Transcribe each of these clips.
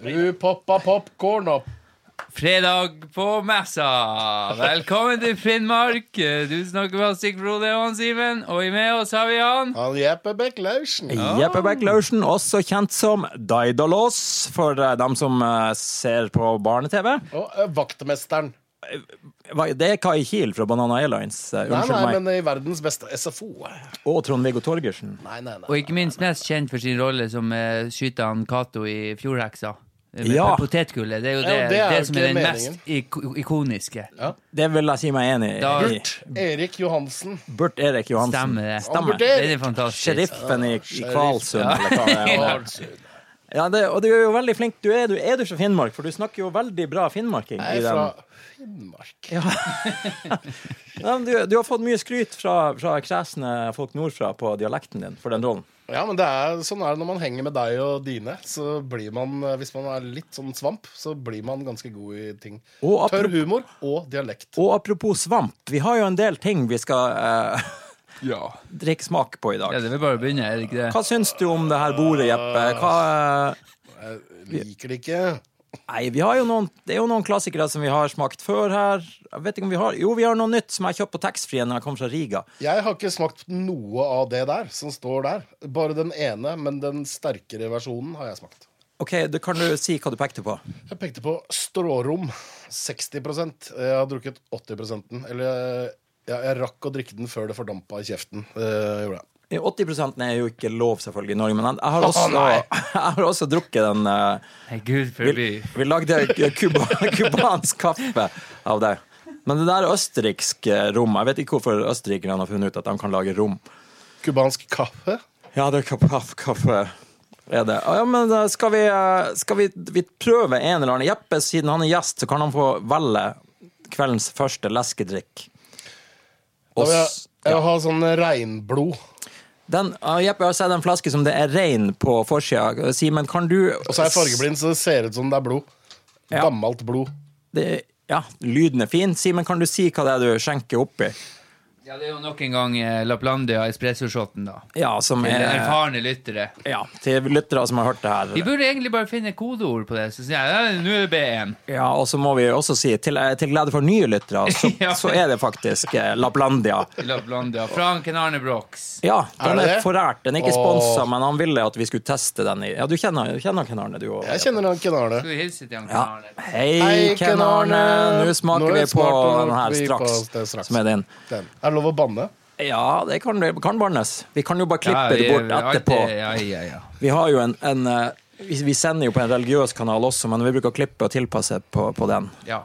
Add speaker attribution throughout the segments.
Speaker 1: Du poppa popkorn opp.
Speaker 2: Fredag på messa! Velkommen til Finnmark! Du snakker med Stikk-Frode og Simen, og med oss har vi han.
Speaker 1: Han Jeppe Bech Lausen.
Speaker 2: Ah.
Speaker 3: Jeppe Bech-Laursen, også kjent som Daidalos, for eh, dem som eh, ser på barne-TV.
Speaker 1: Og eh, vaktmesteren.
Speaker 3: Hva- Det er Kai Kiel fra Banana Airlines, eh,
Speaker 1: Nei,
Speaker 3: unnskyld
Speaker 1: nei,
Speaker 3: meg.
Speaker 1: men i verdens beste SFO.
Speaker 3: Og Trond-Viggo Torgersen.
Speaker 1: Nei, nei,
Speaker 2: Og
Speaker 1: nei.
Speaker 2: ikke minst mest kjent for sin rolle som uh, skyter han Cato i Fjordheksa. Eh, Med
Speaker 3: Ja.
Speaker 2: potetgullet. Det er jo det,
Speaker 1: Ja, det
Speaker 2: det,
Speaker 1: er jo
Speaker 2: som
Speaker 1: ikke
Speaker 2: er den
Speaker 1: meningen.
Speaker 2: mest ik ikoniske.
Speaker 3: Det vil jeg si meg enig
Speaker 2: Da-
Speaker 3: i.
Speaker 1: Erik Johansen.
Speaker 3: Burt Erik Johansen.
Speaker 2: Stemmer det.
Speaker 3: Stemmer.
Speaker 1: Burt Erik.
Speaker 2: Den er fantastisk.
Speaker 3: Sheriffen i, i Kvalsund,
Speaker 2: Ja.
Speaker 3: eller hva det er.
Speaker 1: Jeg
Speaker 3: Ja, det, og du er jo veldig flink. Du er, du, er du fra Finnmark? For du snakker jo veldig bra finnmarking. i
Speaker 1: er
Speaker 3: den-
Speaker 1: fra Finnmark.
Speaker 3: Ja, men du, du har fått mye skryt fra, fra kresne folk nordfra på dialekten din for den rollen.
Speaker 1: Ja, men det er, sånn er det når man henger med deg og dine. Så blir man, eh, Hvis man er litt sånn svamp, så blir man ganske god i ting.
Speaker 3: Og
Speaker 1: Tørr
Speaker 3: apropos-
Speaker 1: humor og dialekt.
Speaker 3: Og apropos svamp, vi har jo en del ting vi skal eh, drikke smak på i dag.
Speaker 2: Ja, det er vel bare å begynne, er det ikke det?
Speaker 3: Hva syns du om det her bordet, Jeppe? Hva, eh,
Speaker 1: Liker det ikke.
Speaker 3: nei, vi har jo noen, det er jo noen klassikere som vi har smakt før her. Jeg vet ikke om vi har Jo, vi har noe nytt som jeg kjøpte på taxfree da jeg kom fra Riga.
Speaker 1: Jeg har ikke smakt noe av det der som står der. Bare den ene, men den sterkere versjonen har jeg smakt.
Speaker 3: OK, du, kan du si hva du pekte på?
Speaker 1: Jeg pekte på strårom. 60 Jeg har drukket 80 den. Eller ja, jeg rakk å drikke den før det fordampa i kjeften. Det gjorde jeg.
Speaker 3: Eh, 80 er jo ikke lov, selvfølgelig, i Norge, men jeg jeg har
Speaker 1: Å,
Speaker 3: også,
Speaker 1: nei.
Speaker 3: jeg har også drukket den eh,
Speaker 2: Nei, Gud forby.
Speaker 3: Vi, vi lagde kuba, kubansk kaffe av det. Men det der østerrikske rom Jeg vet ikke hvorfor østerrikerne har funnet ut at de kan lage rom.
Speaker 1: Cubansk kaffe.
Speaker 3: Ja, det er kaff- kaffe. Er det. Ja, men eh, skal vi, eh, skal vi, vi prøve en eller annen? Jeppe, siden han er gjest, så kan han få velge kveldens første leskedrikk.
Speaker 1: Da
Speaker 3: Og
Speaker 1: vil jeg,
Speaker 3: s-
Speaker 1: jeg vil ha sånn reinblod.
Speaker 3: den, eh, Jeppe, jeg har sett en flaske som det er rein på forsida. Simen, kan du
Speaker 1: Og så er jeg fargeblind, så det ser ut som det er blod.
Speaker 3: Ja.
Speaker 1: Gammelt blod.
Speaker 3: Det, ja, lyden er fin. Simen, kan du si hva det er du skjenker oppi?
Speaker 2: Ja, det er jo nok en gang eh, Laplandia espressoshoten, da.
Speaker 3: Ja, som
Speaker 2: Til
Speaker 3: er
Speaker 2: erfarne lyttere.
Speaker 3: Ja, til lyttere som har hørt det
Speaker 2: Vi
Speaker 3: her.
Speaker 2: burde egentlig bare finne kodeord på det. Så sier jeg ja, nå er det B1.
Speaker 3: Ja, Og så må vi også si, til, eh, til glede for nye lyttere, så,
Speaker 2: Ja.
Speaker 3: så er det faktisk eh, Laplandia.
Speaker 2: Laplandia. Franken Arne Brox.
Speaker 3: Ja,
Speaker 1: Er
Speaker 3: den
Speaker 1: det
Speaker 3: er
Speaker 1: det?
Speaker 3: forært. Den er ikke
Speaker 1: Åh.
Speaker 3: sponsa, men han ville at vi skulle teste den i Ja, du kjenner, kjenner Ken Arne, du òg?
Speaker 1: Jeg kjenner han Ken Arne.
Speaker 2: Skal vi hilse til han
Speaker 3: Ja.
Speaker 2: Ken Arne?
Speaker 3: Hei, Ken Arne. Nå smaker
Speaker 1: Nå
Speaker 3: vi på
Speaker 1: smaker
Speaker 3: den her
Speaker 1: vi på
Speaker 3: straks,
Speaker 1: det straks.
Speaker 3: som er din.
Speaker 1: Den. Er det lov å banne?
Speaker 3: Ja, det kan, det kan barnes. Vi kan jo bare klippe
Speaker 2: vi-
Speaker 3: det bort
Speaker 2: vi- alt
Speaker 3: etterpå.
Speaker 2: det- Ja, ja, ja.
Speaker 3: Vi har jo en, en eh, vi, vi sender jo på en religiøs kanal også, men vi bruker å klippe og tilpasse på, på den.
Speaker 2: ja.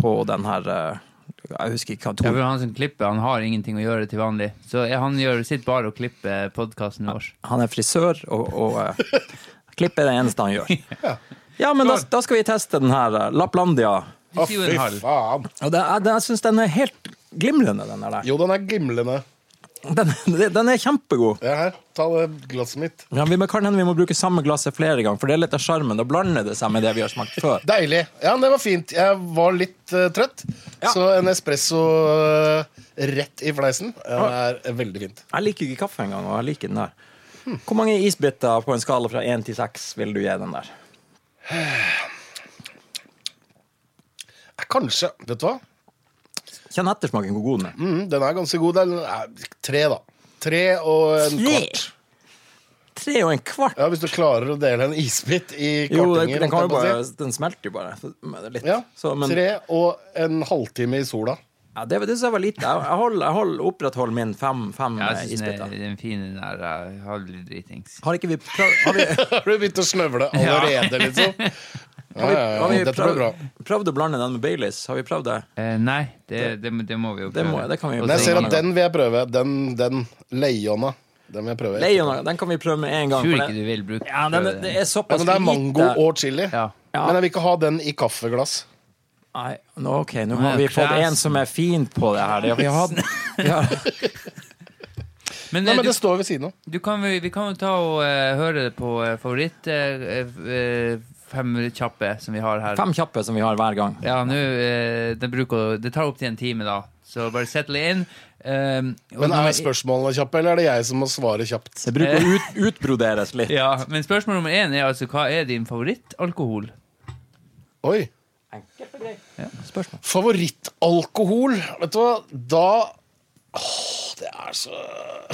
Speaker 3: På den her eh, Jeg husker ikke hva
Speaker 2: Ja,
Speaker 3: Tor
Speaker 2: for han som klipper, han har ingenting å gjøre til vanlig. Så jeg- han gjør sitt bare å klippe podkasten vår.
Speaker 3: Han er frisør, og, og eh, klipp er det eneste han gjør. Ja, men da, da skal vi teste den her eh, Laplandia.
Speaker 2: Du sier jo en halv.
Speaker 1: faen.
Speaker 3: Og det, er- det, jeg syns den er helt glimrende, den der.
Speaker 1: Jo, den er gimlende.
Speaker 3: Den, den er kjempegod.
Speaker 1: Det er her. Ta det glasset mitt.
Speaker 3: Ja, vi, men kan hende vi må bruke samme glasset flere ganger, for det er litt av sjarmen. Da blander det seg med det vi har smakt før.
Speaker 1: Deilig. Ja, men det var fint. Jeg var litt eh, trøtt,
Speaker 3: Ja.
Speaker 1: så en espresso eh, rett i fleisen Den er veldig fint.
Speaker 3: Jeg liker jo ikke kaffe engang, og jeg liker den der. Hvor mange isbiter på en skala fra én til seks vil du gi den der?
Speaker 1: Eh, Kanskje. Vet du hva?
Speaker 3: Kjenn ettersmaken hvor god den er.
Speaker 1: Mm, den er ganske god. Den er tre, da. Tre og en
Speaker 3: Tre?
Speaker 1: kvart.
Speaker 3: Tre og en kvart?
Speaker 1: Ja, Hvis du klarer å dele en isbit i
Speaker 3: Jo, den,
Speaker 1: kvartinger.
Speaker 3: den, kan jo
Speaker 1: holdt jeg på å
Speaker 3: bare,
Speaker 1: si.
Speaker 3: den smelter jo bare. så- men det er Litt.
Speaker 1: ja,
Speaker 3: Så, men,
Speaker 1: Tre og en halvtime i sola.
Speaker 3: ja, det det synes jeg var lite. Jeg, jeg, hold, jeg hold, opprettholder min fem, fem
Speaker 2: Ja,
Speaker 3: eh,
Speaker 2: jeg synes den er
Speaker 3: isbiter.
Speaker 2: den er fin, den der eh, halvdritings.
Speaker 3: Har ikke vi prøvd, har vi,
Speaker 1: Har du begynt å snøvle allerede, liksom? Ja,
Speaker 3: har vi,
Speaker 1: ja,
Speaker 3: har vi
Speaker 1: ja. Dette blir
Speaker 3: prøvd,
Speaker 1: bra.
Speaker 3: prøvd å blande den med Baileys? Har vi prøvd det?
Speaker 2: Eh, nei, det, det, det må vi jo prøve.
Speaker 3: Det må- det kan vi jo
Speaker 2: Og
Speaker 1: Men
Speaker 2: så-
Speaker 1: jeg ser
Speaker 3: Ingen
Speaker 1: at den vil jeg prøve. Den, den leiona. Den vil jeg prøve.
Speaker 3: Leiona, den kan vi prøve med en gang.
Speaker 2: Tror
Speaker 3: for
Speaker 2: ikke du vil bruke
Speaker 3: ja, den, det er
Speaker 1: Ja, men
Speaker 3: såpass
Speaker 1: Altså, det er mango
Speaker 3: lite-
Speaker 1: og chili.
Speaker 2: Ja.
Speaker 3: Ja.
Speaker 1: Men jeg vil ikke ha den i kaffeglass.
Speaker 3: Nei, nå, ok, nå har
Speaker 2: Nei,
Speaker 3: vi fått
Speaker 2: Klassen.
Speaker 3: en som er fin på det her. Det har vi hatt. Vi har,
Speaker 1: Nei,
Speaker 2: Men, eh,
Speaker 1: men
Speaker 2: du,
Speaker 1: det står ved siden av.
Speaker 2: du kan, jo- vi kan jo ta og eh, høre det på eh, favoritt... eh, eh, fem kjappe som vi har her.
Speaker 3: Fem kjappe som vi har hver gang.
Speaker 2: Ja, nå eh, det, bruker, å- det tar opp til en time, da. Så bare settle inn. Um, og
Speaker 1: Men
Speaker 2: nummer-
Speaker 1: er spørsmålene kjappe, eller er det jeg som må svare kjapt?
Speaker 3: Det bruker å ut, utbroderes litt.
Speaker 2: Ja, men spørsmål nummer én er altså hva er din favorittalkohol?
Speaker 1: Oi.
Speaker 3: Spørsmål.
Speaker 1: Favorittalkohol? Vet du hva, da Åh, det er så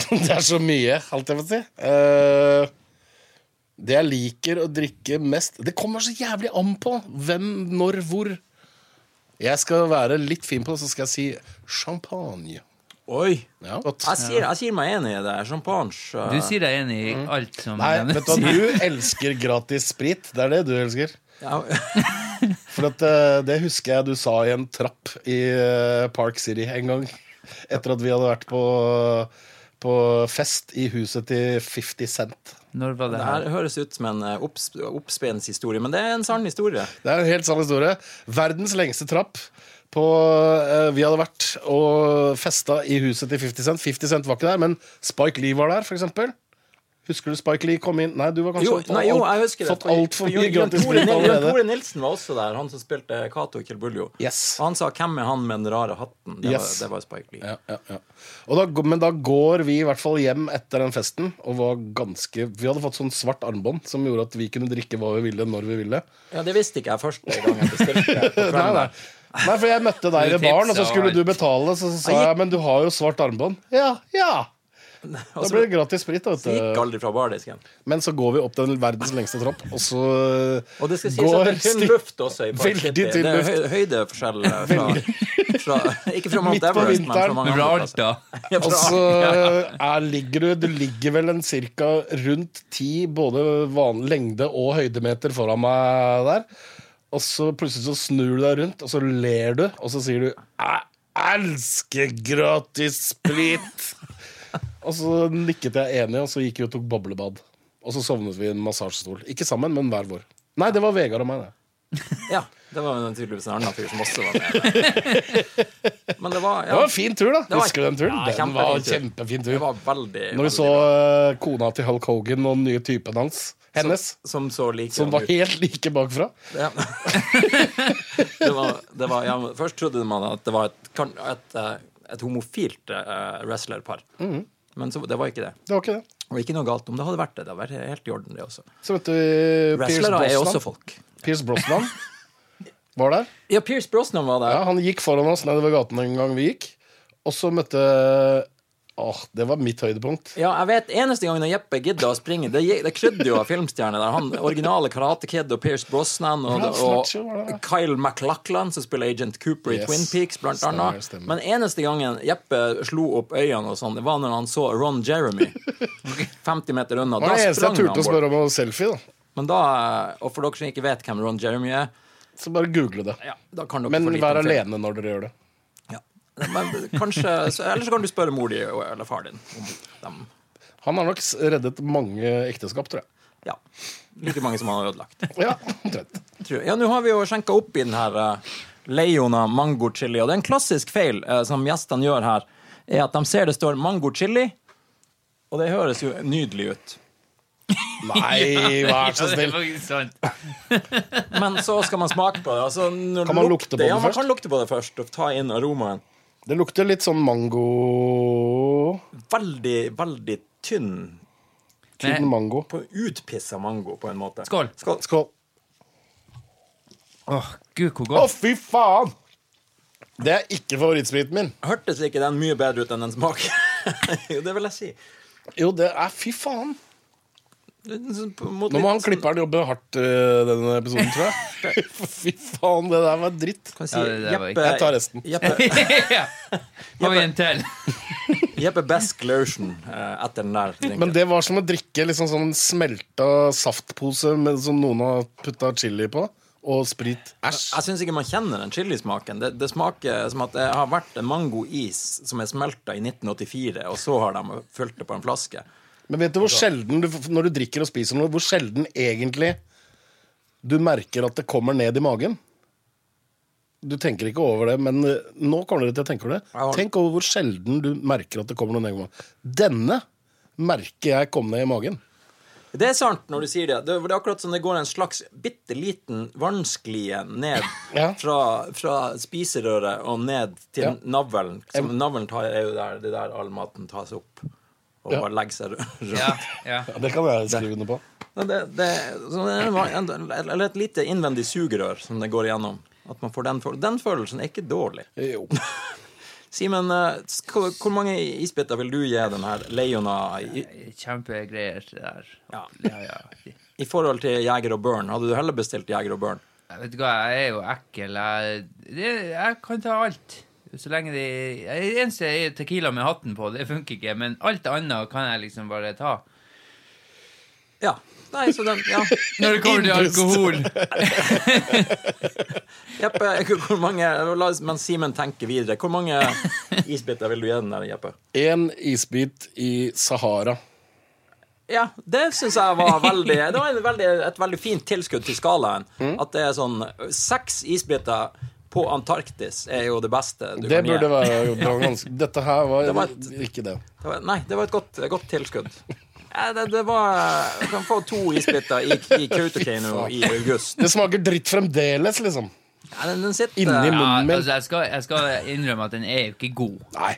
Speaker 1: Det er så mye, alt jeg får si. Eh, det jeg liker å drikke mest Det kommer så jævlig an på hvem, når, hvor. Jeg skal være litt fin på det, så skal jeg si champagne.
Speaker 3: Oi!
Speaker 1: Ja, godt.
Speaker 3: Jeg sier, jeg sier meg enig i det. Champagne.
Speaker 2: Du
Speaker 3: eh,
Speaker 2: sier deg enig i alt som
Speaker 1: Nei,
Speaker 2: nevnes.
Speaker 1: vet du hva, du elsker gratis sprit. Det er det du elsker.
Speaker 3: ja.
Speaker 1: For at, eh, det husker jeg du sa i en trapp i eh, Park City en gang. Etter at vi hadde vært på, på fest i huset til 50 Cent.
Speaker 2: Når var det
Speaker 3: Det
Speaker 2: her?
Speaker 3: her høres ut som en eh, opps oppspens historie, men det er en sann historie.
Speaker 1: Det er en helt sann historie. Verdens lengste trapp. På, eh, vi hadde vært og festa i huset til 50 Cent. 50 Cent var ikke der, men Spike Lee var der, for eksempel. Husker du Spike Lee kom inn Nei, du var kanskje
Speaker 3: Jo,
Speaker 1: fått
Speaker 3: nei, jo, jeg husker det.
Speaker 1: fått altfor mye
Speaker 3: Jon- Jon
Speaker 1: gratis
Speaker 3: Tore
Speaker 1: sprit
Speaker 3: Nil- Jon
Speaker 1: allerede.
Speaker 3: Tore Nilsen var også der, han som spilte Cato Kilbuljo.
Speaker 1: Yes.
Speaker 3: Og han sa 'Hvem er han med den rare hatten?' Det,
Speaker 1: Yes.
Speaker 3: var, det var Spike Lee.
Speaker 1: Ja, ja, ja. Og da, men da går vi i hvert fall hjem etter den festen og var ganske Vi hadde fått sånn svart armbånd som gjorde at vi kunne drikke hva vi ville, når vi ville.
Speaker 3: Ja, Det visste ikke jeg første gang jeg bestilte. på kvelden.
Speaker 1: Nei, nei. Nei, for jeg møtte deg
Speaker 2: Du
Speaker 1: ved baren, og så
Speaker 2: tipset og
Speaker 1: skulle
Speaker 2: alt.
Speaker 1: du betale. Så, så sa
Speaker 3: Jeg
Speaker 1: jeg men du har jo svart armbånd. Ja, ja.
Speaker 3: Og
Speaker 1: Da
Speaker 3: Altså, så
Speaker 1: blir det gratis sprit. da,
Speaker 3: det gikk
Speaker 1: Vet du.
Speaker 3: aldri fra bardisken.
Speaker 1: Men så går vi opp den verdens lengste trapp, og så
Speaker 3: Og det skal sies at
Speaker 1: går
Speaker 3: det er tynn
Speaker 1: styk-
Speaker 3: luft også. i Park
Speaker 1: Veldig
Speaker 3: City.
Speaker 1: tynn
Speaker 3: Det er
Speaker 1: luft.
Speaker 3: høy- høydeforskjell eh, fra, fra Ikke fra
Speaker 1: Midt
Speaker 3: Mount
Speaker 1: på
Speaker 3: Everest, men fra
Speaker 1: vinteren.
Speaker 3: mange
Speaker 2: Men fra
Speaker 3: andre plasser.
Speaker 2: Alta?
Speaker 3: Ja,
Speaker 1: Og
Speaker 3: fra-
Speaker 1: så Altså, er, ligger du Du ligger vel en cirka rundt ti både van, lengde og høydemeter foran meg der. Og så plutselig så snur du deg rundt, og så ler du, og så sier du 'Jeg elsker gratis sprit'. og så nikket jeg enig, og så gikk vi og tok boblebad. Og så sovnet vi i en massasjestol. Ikke sammen, men hver vår. Nei, det var Vegard og meg, det.
Speaker 3: Ja, det var jo tydeligvis en annen fyr som også var med. Men det var,
Speaker 1: Det
Speaker 3: ja,
Speaker 1: var en fin tur, da.
Speaker 3: var-
Speaker 1: Husker du den turen?
Speaker 3: Ja,
Speaker 1: den var
Speaker 3: kjempefin
Speaker 1: kjempefin
Speaker 3: det
Speaker 1: tur.
Speaker 3: var veldig
Speaker 1: Når vi
Speaker 3: veldig
Speaker 1: så
Speaker 3: bra.
Speaker 1: eh, kona til Hulk Hogan og den nye typen hans, hennes,
Speaker 3: Som så like
Speaker 1: som var
Speaker 3: ut.
Speaker 1: helt like bakfra.
Speaker 3: Ja. det var, det var, ja, men først trodde man at det var et, kan- et, eh, et homofilt eh, wrestlerpar.
Speaker 1: Mm.
Speaker 3: Men så, det var ikke det.
Speaker 1: Det var ikke det.
Speaker 3: Og ikke noe galt om det hadde vært det. Det hadde vært helt i orden, det også.
Speaker 1: Så møtte vi Pierce
Speaker 3: Wrestlere er også
Speaker 1: Brosnan.
Speaker 3: folk.
Speaker 1: Pierce Brosnan var der.
Speaker 3: Ja, Pierce Brosnan var
Speaker 1: Ja,
Speaker 3: der.
Speaker 1: han gikk foran oss nedover gaten en gang vi gikk. Og så møtte Åh, det var mitt høydepunkt.
Speaker 3: Ja, jeg vet, Eneste gang når Jeppe gidda å springe Det, gi- det krydde jo av filmstjerner. der Han originale Karate Kid og Pierce Brosnan og,
Speaker 1: Ralph
Speaker 3: og
Speaker 1: Macchio var det.
Speaker 3: Kyle MacLachlan, som spiller agent Cooper i
Speaker 1: Yes.
Speaker 3: Twin Peaks, blant
Speaker 1: Stemmer,
Speaker 3: annet.
Speaker 1: stemmer.
Speaker 3: Men eneste gangen Jeppe slo opp øynene, og sånn det var når han så Ron Jeremy 50 meter unna.
Speaker 1: Det var det
Speaker 3: Da
Speaker 1: eneste
Speaker 3: sprang
Speaker 1: jeg turte å
Speaker 3: han bort.
Speaker 1: spørre om en selfie. da
Speaker 3: Men da, og for dere som ikke vet hvem Ron Jeremy er
Speaker 1: Så bare google det.
Speaker 3: ja, da kan dere
Speaker 1: Men
Speaker 3: for lite
Speaker 1: vær
Speaker 3: om film.
Speaker 1: alene når dere gjør det.
Speaker 3: Ja. Men kanskje, så, Eller så kan du spørre mor di eller far din om dem.
Speaker 1: Han har nok s- reddet mange ekteskap, tror jeg.
Speaker 3: Ja. Like mange som han har ødelagt.
Speaker 1: Ja, omtrent.
Speaker 3: tror jeg. Ja, nå har vi jo skjenka opp i den her uh, Leona mango-chili, og det er en klassisk feil eh, som gjestene gjør her, er at de ser det står mango-chili, og det høres jo nydelig ut.
Speaker 1: Nei, vær så
Speaker 2: Ja, det er
Speaker 1: snill.
Speaker 2: faktisk sant.
Speaker 3: Men så skal man smake på det. Altså, når
Speaker 1: Kan man
Speaker 3: lukt-
Speaker 1: lukte på det
Speaker 3: ja,
Speaker 1: først?
Speaker 3: Man kan lukte på det først og ta inn aromaen.
Speaker 1: Det lukter litt sånn mango
Speaker 3: Veldig, veldig tynn.
Speaker 1: Tynn mango.
Speaker 3: På Utpissa mango, på en måte.
Speaker 2: Skål.
Speaker 3: Skål.
Speaker 1: Skål.
Speaker 2: Åh, gud, hvor
Speaker 1: Å,
Speaker 2: godt.
Speaker 1: fy faen! Det er ikke favorittspriten min.
Speaker 3: Hørtes ikke den mye bedre ut enn den smaker? jo, det vil jeg si.
Speaker 1: Jo, det er fy faen.
Speaker 3: Nå sånn
Speaker 1: Nå må han klipperen jobbe hardt øh, denne episoden, tror jeg. fy faen, det der var dritt.
Speaker 3: Kan si,
Speaker 2: Ja, det- det var ikke-
Speaker 3: Jeppe,
Speaker 1: Jeg tar resten.
Speaker 3: Jeppe,
Speaker 2: ja. Har vi en til?
Speaker 3: Jeppe Besk Lausen eh, etter den der. drinken.
Speaker 1: Men det var som å drikke liksom sånn smelta saftpose med, som noen har putta chili på, og sprit. Æsj.
Speaker 3: jeg syns ikke man kjenner den chilismaken. Det, det smaker som at det har vært en mangois som er smelta i 1984, og så har de fylt det på en flaske.
Speaker 1: Men vet du hvor sjelden du, når du drikker og spiser noe, hvor sjelden egentlig du merker at det kommer ned i magen? Du tenker ikke over det, men eh, nå kommer dere til å tenke over det.
Speaker 3: Ja.
Speaker 1: Tenk over hvor sjelden du merker at det kommer noe ned i magen. Denne merker jeg kom ned i magen.
Speaker 3: Det er sant når du sier det. Det det er akkurat som det går en slags bitte liten vannsklie ned
Speaker 1: Ja.
Speaker 3: fra, fra spiserøret og ned til
Speaker 1: Ja.
Speaker 3: navlen. Som navlen tar, er jo der, det er der all maten tas opp og
Speaker 1: Ja.
Speaker 3: bare legger seg rundt.
Speaker 2: Ja, ja.
Speaker 1: Ja, det kan jeg skrive under på.
Speaker 3: Men Det, det, så det er en van- en- eller et lite innvendig sugerør som det går igjennom. At man får den, føl- den følelsen er ikke dårlig.
Speaker 1: Jo.
Speaker 3: Simen, eh, sk- hvor mange isbiter vil du gi den her Leona i,
Speaker 2: Kjempegreier det der.
Speaker 3: Ja.
Speaker 2: Ja, ja.
Speaker 3: i forhold til Jeger og Børn? Hadde du heller bestilt Jeger og Børn?
Speaker 2: Jeg vet du hva, jeg er jo ekkel. Jeg, det, jeg kan ta alt. Så lenge det jeg- Det eneste er Tequila med hatten på. Det funker ikke. Men alt annet kan jeg liksom bare ta.
Speaker 3: Ja. Nei, så den, ja.
Speaker 2: Når det kommer til
Speaker 1: Innpust.
Speaker 2: alkohol.
Speaker 3: Jeppe, hvor mange la oss- Mens Simen tenker videre, hvor mange isbiter vil du gi den der, Jeppe?
Speaker 1: Én isbit i Sahara.
Speaker 3: Ja, det syns jeg var veldig Det var en veldig, et veldig fint tilskudd til skalaen.
Speaker 1: Mm.
Speaker 3: At det er sånn Seks isbiter på Antarktis er jo det beste du
Speaker 1: Det
Speaker 3: kan
Speaker 1: burde
Speaker 3: gi.
Speaker 1: være det var ganske Dette her var,
Speaker 3: Det var et-
Speaker 1: ikke det.
Speaker 3: Det var, nei, det var et godt, et godt tilskudd. Ja, det, det var Du kan få to isbiter i, i Kautokeino i august.
Speaker 1: Det smaker dritt fremdeles, liksom.
Speaker 3: Ja, den, den sitter
Speaker 1: Inni
Speaker 2: Ja,
Speaker 1: munnen min.
Speaker 2: altså, jeg skal, jeg skal innrømme at den er jo ikke god.
Speaker 1: Nei.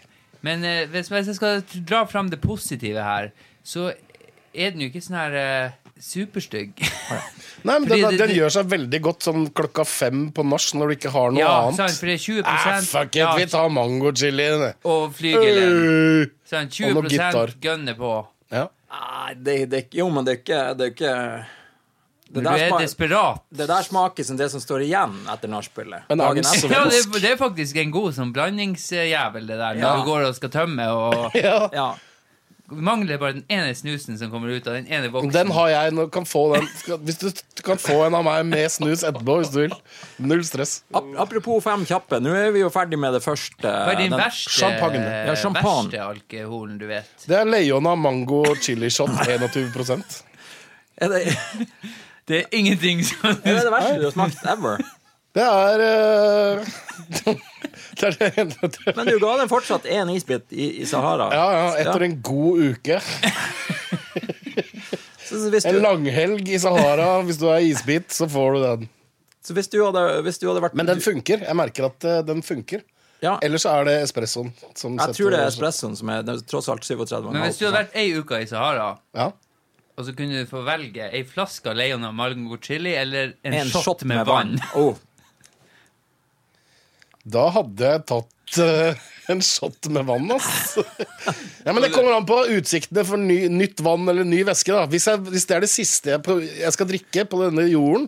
Speaker 2: Men eh, hvis, hvis jeg skal dra fram det positive her, så er den jo ikke sånn her eh, superstygg.
Speaker 1: Nei, men
Speaker 2: Fordi
Speaker 1: den,
Speaker 2: det-
Speaker 1: den
Speaker 2: det-
Speaker 1: gjør seg veldig godt sånn klokka fem på nach når du ikke har noe
Speaker 2: ja, sant,
Speaker 1: annet.
Speaker 2: for det er 20
Speaker 1: Ah, fuck it,
Speaker 2: ja,
Speaker 1: vi tar mangochilien.
Speaker 2: og flygelen.
Speaker 1: Øh.
Speaker 2: Sånn,
Speaker 1: Og noe
Speaker 2: 20
Speaker 1: gitar.
Speaker 2: gønner på.
Speaker 1: Ja.
Speaker 3: Nei, Ah, det, det, jo, men det er ikke Det er ikke det
Speaker 2: Du er
Speaker 3: smak-
Speaker 2: desperat.
Speaker 3: Det der smaker som det som står igjen etter nachspielet.
Speaker 1: Men er
Speaker 3: Dagen
Speaker 1: den
Speaker 3: etter.
Speaker 1: så-
Speaker 2: Ja, det, er- det er faktisk en god sånn blandingsjævel, det der, når
Speaker 3: Ja.
Speaker 2: du går og skal tømme, og
Speaker 1: Ja.
Speaker 3: Ja.
Speaker 2: mangler bare den ene snusen som kommer ut av den ene boksen.
Speaker 1: Den har jeg. Nå kan få den. Skal- Hvis du t- kan få en av meg med snus etterpå, hvis du vil. Null stress.
Speaker 3: Ap apropos fem kjappe, nå er vi jo ferdig med det første.
Speaker 2: Hva er din
Speaker 3: den-
Speaker 2: verste,
Speaker 1: champagne.
Speaker 3: Ja, champagne.
Speaker 2: verste alkoholen du vet?
Speaker 1: Det er Leona mango chili shot 21
Speaker 3: Er det,
Speaker 2: Det er ingenting som
Speaker 3: er det det verste du har smakt ever?
Speaker 1: Det er eh, Det er det eneste
Speaker 3: Men du ga den fortsatt én isbit i, i Sahara.
Speaker 1: Ja, ja, etter en god uke.
Speaker 3: Så, så, hvis
Speaker 1: En
Speaker 3: du,
Speaker 1: langhelg i Sahara. Hvis du er isbit, så får du den.
Speaker 3: så hvis du hadde, hvis du hadde vært
Speaker 1: Men den funker. Jeg merker at eh, den funker.
Speaker 3: ja,
Speaker 1: Ellers så er det espressoen som
Speaker 3: Jeg tror det er espressoen som er det er tross alt 37,5
Speaker 2: Men hvis du hadde vært ei uke i Sahara,
Speaker 1: Ja.
Speaker 2: og så kunne du få velge ei flaske av Leona Malgo chili eller en,
Speaker 3: en
Speaker 2: shot, med, vann
Speaker 3: Oh,
Speaker 1: Da hadde jeg tatt eh, en shot med vann, ass. ja, men det kommer an på utsiktene for ny, nytt vann eller ny væske. Da. Hvis, jeg, hvis det er det siste jeg, prøv- jeg skal drikke på denne jorden,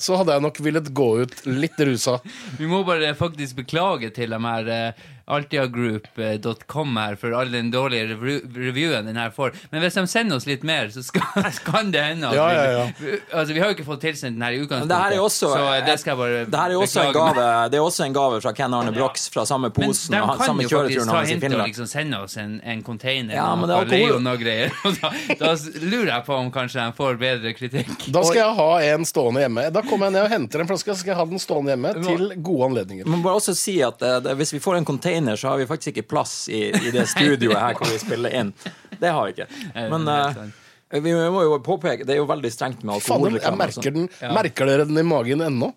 Speaker 1: så hadde jeg nok villet gå ut litt rusa.
Speaker 2: Vi må bare faktisk beklage til dem her eh, altiagroup.com her for all den dårlige revu- reviewen den her får. Men hvis de sender oss litt mer, så skal, så kan det hende. at
Speaker 1: Ja, ja, ja.
Speaker 2: Vi, altså, vi har jo ikke fått tilsendt den her i
Speaker 3: Men
Speaker 2: utgangspunktet,
Speaker 3: det her er jo også,
Speaker 2: så eh, det skal jeg bare
Speaker 3: det her er jo også en
Speaker 2: beklage.
Speaker 3: gave Det er også en gave fra Ken Arne Brox fra samme
Speaker 2: Men
Speaker 3: posen
Speaker 2: de
Speaker 3: og han-
Speaker 2: kan
Speaker 3: samme
Speaker 2: jo faktisk
Speaker 3: kjøreturen
Speaker 2: ta
Speaker 3: hans i
Speaker 2: hintet og
Speaker 3: Finland.
Speaker 2: liksom sende oss en, en container
Speaker 3: Ja, men
Speaker 2: med
Speaker 3: det
Speaker 2: noe
Speaker 3: er alkohol.
Speaker 2: Leon og greier. Og da, da s- lurer jeg på om kanskje de får bedre kritikk.
Speaker 1: Da skal jeg ha en stående hjemme. Da kommer jeg ned og henter en flaske, så skal jeg ha den stående hjemme til gode anledninger.
Speaker 3: Jeg må bare også si at eh, det, Hvis vi får en container, så har vi faktisk ikke plass i, i det studioet her hvor vi spiller inn. Det har vi ikke. Men
Speaker 2: det er
Speaker 3: eh,
Speaker 2: sant.
Speaker 3: vi må jo påpeke Det er jo veldig strengt med
Speaker 1: Faen, jeg
Speaker 3: alkoholreklame. altså. og sånt.
Speaker 1: merker, den, merker dere den i magen ennå?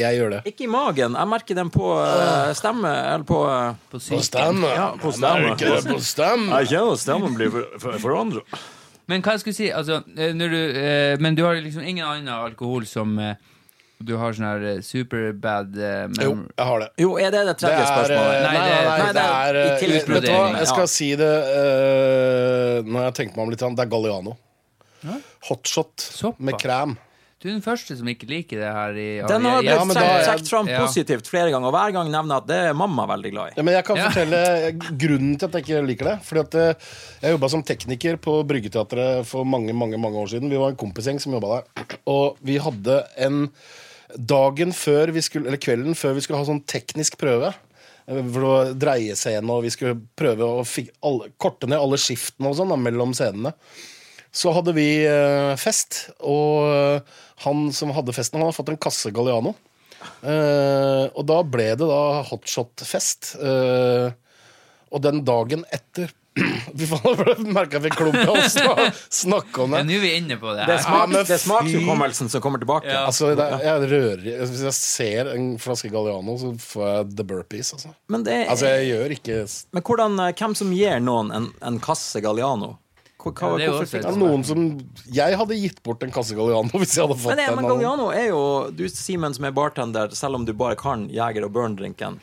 Speaker 1: Jeg gjør det.
Speaker 3: Ikke i magen. Jeg merker den på eh, stemme eller på eh,
Speaker 2: På
Speaker 1: På
Speaker 2: syk.
Speaker 1: stem.
Speaker 3: Ja, på stem.
Speaker 1: Merker det på stem.
Speaker 3: kjenner stemmen blir forandra.
Speaker 2: Men hva jeg skulle si altså, eh, når du, eh, Men du har liksom ingen annen alkohol som eh, du har sånn her eh, superbad eh,
Speaker 1: Jo,
Speaker 2: mem-
Speaker 1: jeg har det.
Speaker 3: Jo, er det det
Speaker 1: Det
Speaker 3: tredje
Speaker 1: er, eh,
Speaker 3: spørsmålet?
Speaker 1: nei, nei, nei,
Speaker 3: Nei,
Speaker 1: det er
Speaker 3: det er i
Speaker 1: eh,
Speaker 3: tillegg
Speaker 1: Vet du hva,
Speaker 2: vurderingen,
Speaker 1: jeg
Speaker 3: ja.
Speaker 1: skal si det eh, når jeg tenker meg om litt. grann, Det er Galliano. Hotshot
Speaker 2: Såpass.
Speaker 1: med krem.
Speaker 2: Du er den første som ikke liker det her. I,
Speaker 3: Den har
Speaker 2: i- i-
Speaker 1: Ja,
Speaker 3: blitt
Speaker 1: men da
Speaker 3: trukket
Speaker 1: er-
Speaker 3: trukket fram
Speaker 2: ja.
Speaker 3: positivt flere ganger, og hver gang nevner jeg at det er mamma veldig glad i.
Speaker 1: Ja, men jeg kan
Speaker 2: Ja.
Speaker 1: fortelle grunnen til at jeg ikke liker det. Fordi at eh, Jeg jobba som tekniker på Bryggeteatret for mange mange, mange år siden. Vi var en kompisgjeng som jobba der. Og vi hadde en dagen før vi skulle, eller kvelden før vi skulle ha sånn teknisk prøve. eh, Hvor det var dreiescene, og vi skulle prøve å fi- alle, korte ned alle skiftene og sånn da, mellom scenene. Så hadde vi eh, fest, og eh, han som hadde festen, han hadde fått en kasse Galliano. Eh, og da ble det da hotshot-fest. Eh, og den dagen etter Fy faen, jeg merka jeg fikk klump i halsen av å snakke om
Speaker 2: Ja,
Speaker 1: det.
Speaker 2: Nå er vi inne på det
Speaker 3: Det
Speaker 1: Ja,
Speaker 2: her.
Speaker 3: er, smak,
Speaker 1: men
Speaker 3: det er
Speaker 1: fy-
Speaker 3: smakshukommelsen som kommer tilbake.
Speaker 2: Ja.
Speaker 1: Altså, det, er- jeg rører i- Hvis jeg ser en flaske Galliano, så får jeg the burpees. Altså,
Speaker 3: Men, det
Speaker 1: altså
Speaker 3: er,
Speaker 1: jeg gjør ikke s-
Speaker 3: men hvordan, eh, hvem som gir noen en, en kasse Galliano? Hva, hva,
Speaker 2: Ja, det er jo
Speaker 3: hvorfor
Speaker 2: også
Speaker 3: fikk
Speaker 1: det er noen som Jeg hadde gitt bort en kasse Galliano hvis jeg hadde fått
Speaker 3: Men, det,
Speaker 1: en.
Speaker 3: men
Speaker 1: av noen.
Speaker 3: Galliano er jo Du, Simen, som er bartender, selv om du bare kan Jeger- og Burn-drinken.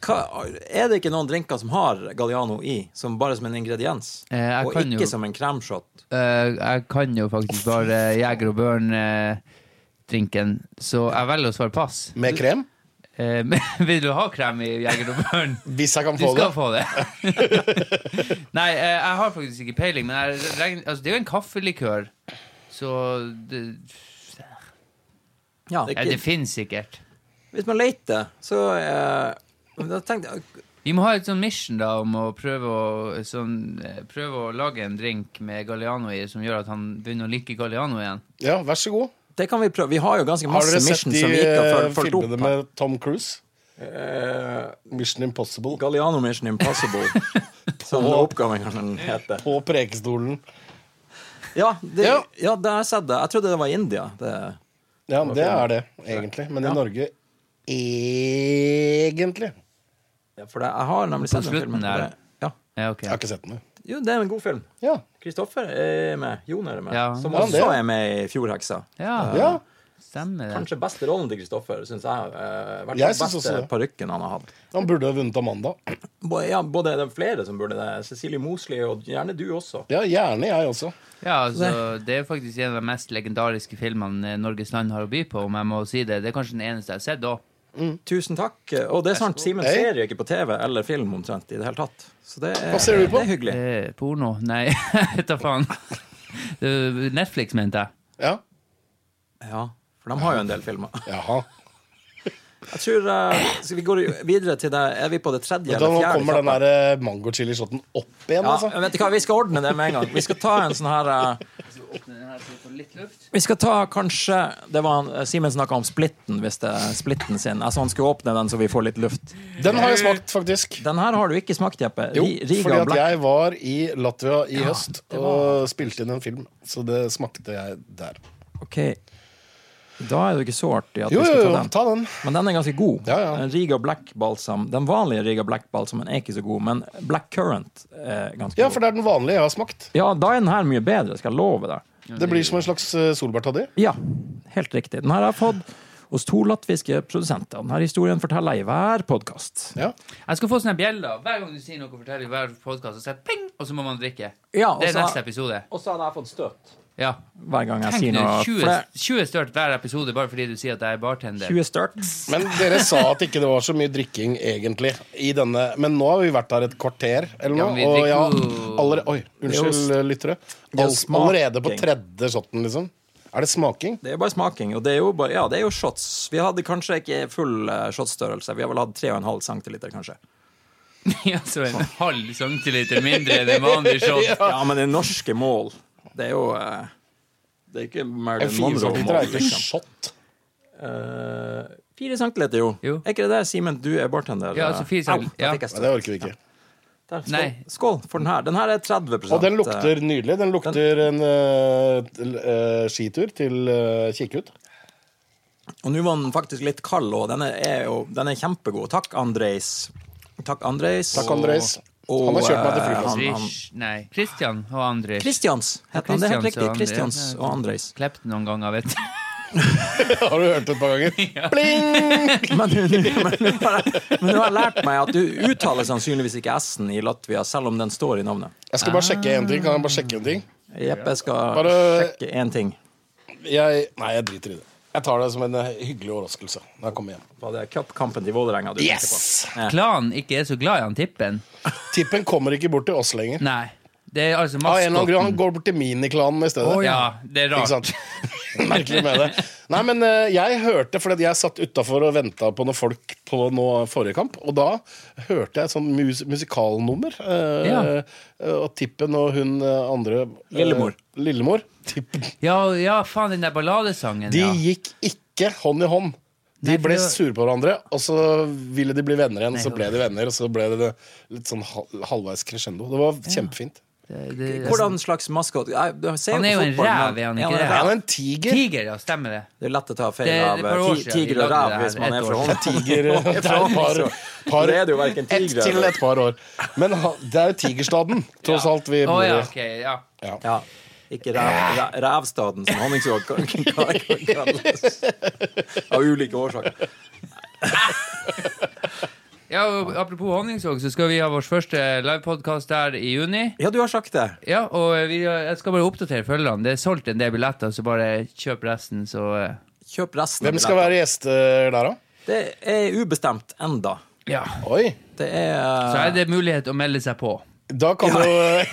Speaker 3: Hva- Er det ikke noen drinker som har Galliano i, som bare som en ingrediens?
Speaker 2: Eh, jeg
Speaker 3: og
Speaker 2: kan
Speaker 3: ikke
Speaker 2: jo-
Speaker 3: som en kremshot?
Speaker 2: Eh, jeg kan jo faktisk bare eh, Jeger og Børn-drinken, så jeg velger å svare pass.
Speaker 1: Med krem?
Speaker 2: Eh, men vil du ha krem i Jeger og Børn?
Speaker 1: Hvis jeg kan
Speaker 2: Du
Speaker 1: få det.
Speaker 2: skal få det. Nei, eh, jeg har faktisk ikke peiling, men jeg regner, altså, det er jo en kaffelikør, så det,
Speaker 3: Ja,
Speaker 2: ja, Eh, det finnes sikkert.
Speaker 3: Hvis man leter, så eh, da tenkte jeg
Speaker 2: Vi må ha et sånn mission da om å prøve å, sånn, eh, prøve å lage en drink med Galliano i som gjør at han begynner å like Galliano igjen.
Speaker 1: Ja, vær så god.
Speaker 3: Det kan vi prøve. Vi har jo ganske
Speaker 1: Har
Speaker 3: masse
Speaker 1: dere sett
Speaker 3: mission
Speaker 1: de
Speaker 3: som vi ikke har
Speaker 1: eh,
Speaker 3: fulgt- fulgt
Speaker 1: filmene
Speaker 3: opp.
Speaker 1: med Tom Cruise? Mission Impossible.
Speaker 3: Galliano Mission Impossible. Som den oppgaven kan hete.
Speaker 1: På prekestolen.
Speaker 3: Ja, det,
Speaker 1: Ja.
Speaker 3: ja, det har jeg sett det. Jeg trodde det var i India. Det
Speaker 1: Ja, det er det, egentlig. Men i Norge egentlig. Jeg
Speaker 3: Ja, for det, jeg har nemlig
Speaker 2: På
Speaker 3: sett den
Speaker 2: slutten
Speaker 3: filmen.
Speaker 2: der.
Speaker 3: Det- Ja.
Speaker 2: Ja, ok.
Speaker 1: har ikke sett den. jeg.
Speaker 3: Jo, det er en god film.
Speaker 1: Ja.
Speaker 3: Kristoffer er med. Jon er med.
Speaker 2: Ja.
Speaker 3: Som
Speaker 1: Ja,
Speaker 3: også
Speaker 1: det.
Speaker 3: er med i Fjordheksa.
Speaker 2: Ja,
Speaker 1: ja.
Speaker 2: stemmer det.
Speaker 3: Kanskje beste rollen til Kristoffer, syns jeg. Uh, hvert fall
Speaker 1: Jeg synes også
Speaker 3: beste
Speaker 1: det.
Speaker 3: parykken han har hatt.
Speaker 1: Han burde ha vunnet Amanda.
Speaker 3: Både, ja, både det er flere som burde det. Cecilie Mosli, og gjerne du også.
Speaker 1: Ja, gjerne jeg også.
Speaker 2: Ja, altså, det er faktisk en av de mest legendariske filmene eh, Norges land har å by på, om jeg må si det. Det er kanskje den eneste jeg har sett da.
Speaker 3: Tusen takk. Og det er sant, Simen
Speaker 1: Hei.
Speaker 3: ser jo ikke på TV eller film omtrent i det hele tatt. Så det er,
Speaker 1: Hva ser du på?
Speaker 3: Det er hyggelig.
Speaker 2: Eh, porno? Nei, jeg tar faen. Eh, Netflix, mente jeg.
Speaker 1: Ja.
Speaker 3: Ja, for de har jo en del filmer.
Speaker 1: Jaha.
Speaker 3: Jeg tror eh, Skal vi gå videre til det Er vi på det tredje
Speaker 1: Vet du,
Speaker 3: eller
Speaker 1: nå
Speaker 3: fjerde?
Speaker 1: kommer den
Speaker 3: kjappe?
Speaker 1: der eh, mango-chili-shoten opp igjen,
Speaker 3: Ja,
Speaker 1: altså.
Speaker 3: men vet du hva, vi skal ordne det med en gang. Vi skal ta en sånn her eh, Vi skal ta kanskje Det var han, eh, Simen snakka om splitten, hvis det er splitten sin. Altså han skulle åpne den så vi får litt luft.
Speaker 1: Den har jeg smakt, faktisk.
Speaker 3: Den her har du ikke smakt, Jeppe.
Speaker 1: Jo,
Speaker 3: Ri-
Speaker 1: fordi
Speaker 3: Riga
Speaker 1: at
Speaker 3: Black.
Speaker 1: jeg var i Latvia i høst
Speaker 3: det
Speaker 1: og spilte inn en film, så det smakte jeg der.
Speaker 3: Ok. Da er det ikke så artig at
Speaker 1: Jo,
Speaker 3: vi
Speaker 1: jo,
Speaker 3: skal
Speaker 1: jo,
Speaker 3: ta den.
Speaker 1: ta den.
Speaker 3: Men den er ganske god.
Speaker 1: Ja, ja.
Speaker 3: En Riga Black Balsam. Den vanlige Riga Black Balsamen er ikke så god, men Black Currant er ganske
Speaker 1: Ja, for
Speaker 3: god.
Speaker 1: det er den vanlige jeg har smakt.
Speaker 3: Ja, da er den her mye bedre, skal jeg love deg.
Speaker 1: Det blir som en slags eh, solbærtoddy.
Speaker 3: Ja, helt riktig. Den her har jeg fått hos to latviske produsenter. Denne historien forteller jeg i hver podkast.
Speaker 1: Ja.
Speaker 2: Jeg skal få sånne bjeller. Hver gang du sier noe, forteller i hver podkast, og så, er det ping, og så må man drikke.
Speaker 3: Ja,
Speaker 2: Det er neste episode.
Speaker 3: og så hadde jeg fått støt.
Speaker 2: Ja.
Speaker 3: Hver gang jeg
Speaker 2: Tenk
Speaker 3: sier
Speaker 2: du,
Speaker 3: noe.
Speaker 2: 20,
Speaker 3: for det-
Speaker 2: 20 størt hver episode bare fordi du sier at jeg er bartender.
Speaker 3: 20 størt.
Speaker 1: Men dere sa at ikke det var så mye drikking, egentlig, i denne. Men nå har vi vært her et kvarter, eller
Speaker 2: Ja,
Speaker 1: noe.
Speaker 2: men vi
Speaker 1: og
Speaker 2: drikker
Speaker 1: jeg har
Speaker 2: jo-
Speaker 1: allerede Oi,
Speaker 3: Det
Speaker 1: unnskyld, eh,
Speaker 3: er
Speaker 1: lyttere.
Speaker 3: er jo
Speaker 1: All, allerede på
Speaker 3: smaking.
Speaker 1: tredje shoten, liksom. Er det smaking?
Speaker 3: Det er bare smaking. Og det er jo, bare, ja, det er jo shots. Vi hadde kanskje ikke full eh, shotstørrelse. Vi har vel hatt 3,5 centiliter, kanskje.
Speaker 2: Ja, så en halv centiliter mindre enn en vanlig shot.
Speaker 3: Ja, men det er norske mål. Det er jo eh, Det er ikke
Speaker 1: En
Speaker 3: Marilyn
Speaker 1: fire centiliter
Speaker 3: Monroe-mål,
Speaker 1: er ikke en
Speaker 3: liksom.
Speaker 1: shot.
Speaker 3: Eh, Fire centiliter, jo.
Speaker 2: Jo.
Speaker 3: Er ikke det det, Simen? Du er bartender.
Speaker 2: Ja, altså fire
Speaker 3: Au,
Speaker 2: centil-
Speaker 3: da
Speaker 2: ja.
Speaker 3: fikk jeg
Speaker 1: Nei,
Speaker 3: støt.
Speaker 1: det orker vi ikke.
Speaker 3: Der, skål.
Speaker 2: Nei.
Speaker 3: skål for den her. Den her er eh, 30
Speaker 1: Og den lukter nydelig. Den lukter en eh, til, eh, skitur til uh, Kikkut.
Speaker 3: Og nå var den faktisk litt kald, og den er, er jo, den er kjempegod. Takk, Andrejs. Takk, Andrejs.
Speaker 1: Takk, Andrejs.
Speaker 3: og,
Speaker 1: Han har kjørt meg til
Speaker 3: eh,
Speaker 1: flyplassen.
Speaker 3: han- han-
Speaker 2: Rish, nei, Christian og Andris.
Speaker 3: Kristians heter han. Det er helt
Speaker 2: Kristians og
Speaker 3: riktig.
Speaker 2: Andrejs.
Speaker 3: Kristians og Andrejs.
Speaker 2: Klept noen ganger, vet du.
Speaker 1: Har du hørt det et par ganger? Pling!
Speaker 3: Men nå- nå- men nå har jeg- men nå har jeg lært meg at du uttaler sannsynligvis ikke S-en i Latvia, selv om den står i navnet.
Speaker 1: Jeg skal bare sjekke en ting. Kan jeg bare sjekke en ting?
Speaker 3: Jepp, jeg skal
Speaker 1: Bare-
Speaker 3: sjekke én ting.
Speaker 1: Jeg, nei, jeg driter i det. Jeg tar det som en eh, hyggelig overraskelse når jeg kommer hjem.
Speaker 3: Var det cupkampen til Vålerenga du
Speaker 1: Yes!
Speaker 3: tenkte på? Ja.
Speaker 2: Klanen ikke er så glad i han tippen.
Speaker 1: Tippen kommer ikke bort til oss lenger.
Speaker 2: Nei. Det er altså
Speaker 1: Av en eller annen grunn han
Speaker 2: maskotten.
Speaker 1: går bort til miniklanen i stedet.
Speaker 2: Å ja, det er
Speaker 1: Ikke
Speaker 2: rart.
Speaker 1: sant? Merkelig med det. Nei, men eh, jeg hørte, fordi jeg satt utafor og venta på noen folk på noe forrige kamp, og da hørte jeg et sånt mus musikalnummer. eh,
Speaker 2: Ja.
Speaker 1: eh, og Tippen og hun eh, andre eh,
Speaker 3: Lillemor.
Speaker 1: Lillemor. Tippen.
Speaker 2: Ja, ja, faen, den der balladesangen,
Speaker 1: De
Speaker 2: ja.
Speaker 1: gikk ikke hånd i hånd. De
Speaker 2: for
Speaker 1: ble
Speaker 2: det var-
Speaker 1: sure på hverandre, og så ville de bli venner igjen. Og så ble de venner, og så ble det litt sånn hal- halvveis crescendo. Det var kjempefint.
Speaker 2: Det- det-
Speaker 3: Hvordan slags maskot? Jeg- jeg ser
Speaker 2: Han er
Speaker 3: på
Speaker 2: jo en
Speaker 3: fotball,
Speaker 2: ræv,
Speaker 3: men-
Speaker 2: er han ikke
Speaker 3: Ja,
Speaker 2: det?
Speaker 1: Ja,
Speaker 3: ræv.
Speaker 1: det er en tiger.
Speaker 2: altså, Tiger, ja, stemmer det.
Speaker 3: Det er lett å ta feil
Speaker 2: Det- det
Speaker 3: av
Speaker 2: er et par år
Speaker 3: ti-
Speaker 2: siden
Speaker 3: tiger
Speaker 2: vi
Speaker 3: og
Speaker 2: lagde
Speaker 3: ræv
Speaker 2: det
Speaker 3: hvis
Speaker 2: her,
Speaker 3: man
Speaker 2: ett
Speaker 3: er fra
Speaker 2: år
Speaker 3: Holm.
Speaker 1: Tiger Det er et par, par
Speaker 3: Det er det jo hverken
Speaker 1: Ett
Speaker 3: tiger
Speaker 1: til
Speaker 3: eller
Speaker 1: et par år. Men ha- det er jo Tigerstaden, tross alt, vi
Speaker 2: Å
Speaker 1: bor i.
Speaker 2: ja, ok, ja.
Speaker 3: Ja. Ikke ræv, ræ- rævstaden, som Honningsvåg kan- kan- kan kalles. Av ulike årsaker.
Speaker 2: ja og apropos Honningsvåg, så skal vi ha vår første livepodkast der i juni.
Speaker 3: Ja, du har sagt det.
Speaker 2: Ja, og eh, vi, jeg skal bare oppdatere følgerne. Det er solgt en del billetter, så bare kjøp resten, så eh,
Speaker 3: Kjøp resten. av
Speaker 1: Hvem skal
Speaker 3: billetter.
Speaker 1: være gjester der, da?
Speaker 3: Det er ubestemt enda.
Speaker 2: Ja.
Speaker 1: Oi!
Speaker 3: Det er
Speaker 2: Så er det mulighet å melde seg på.
Speaker 1: Da kan du eh,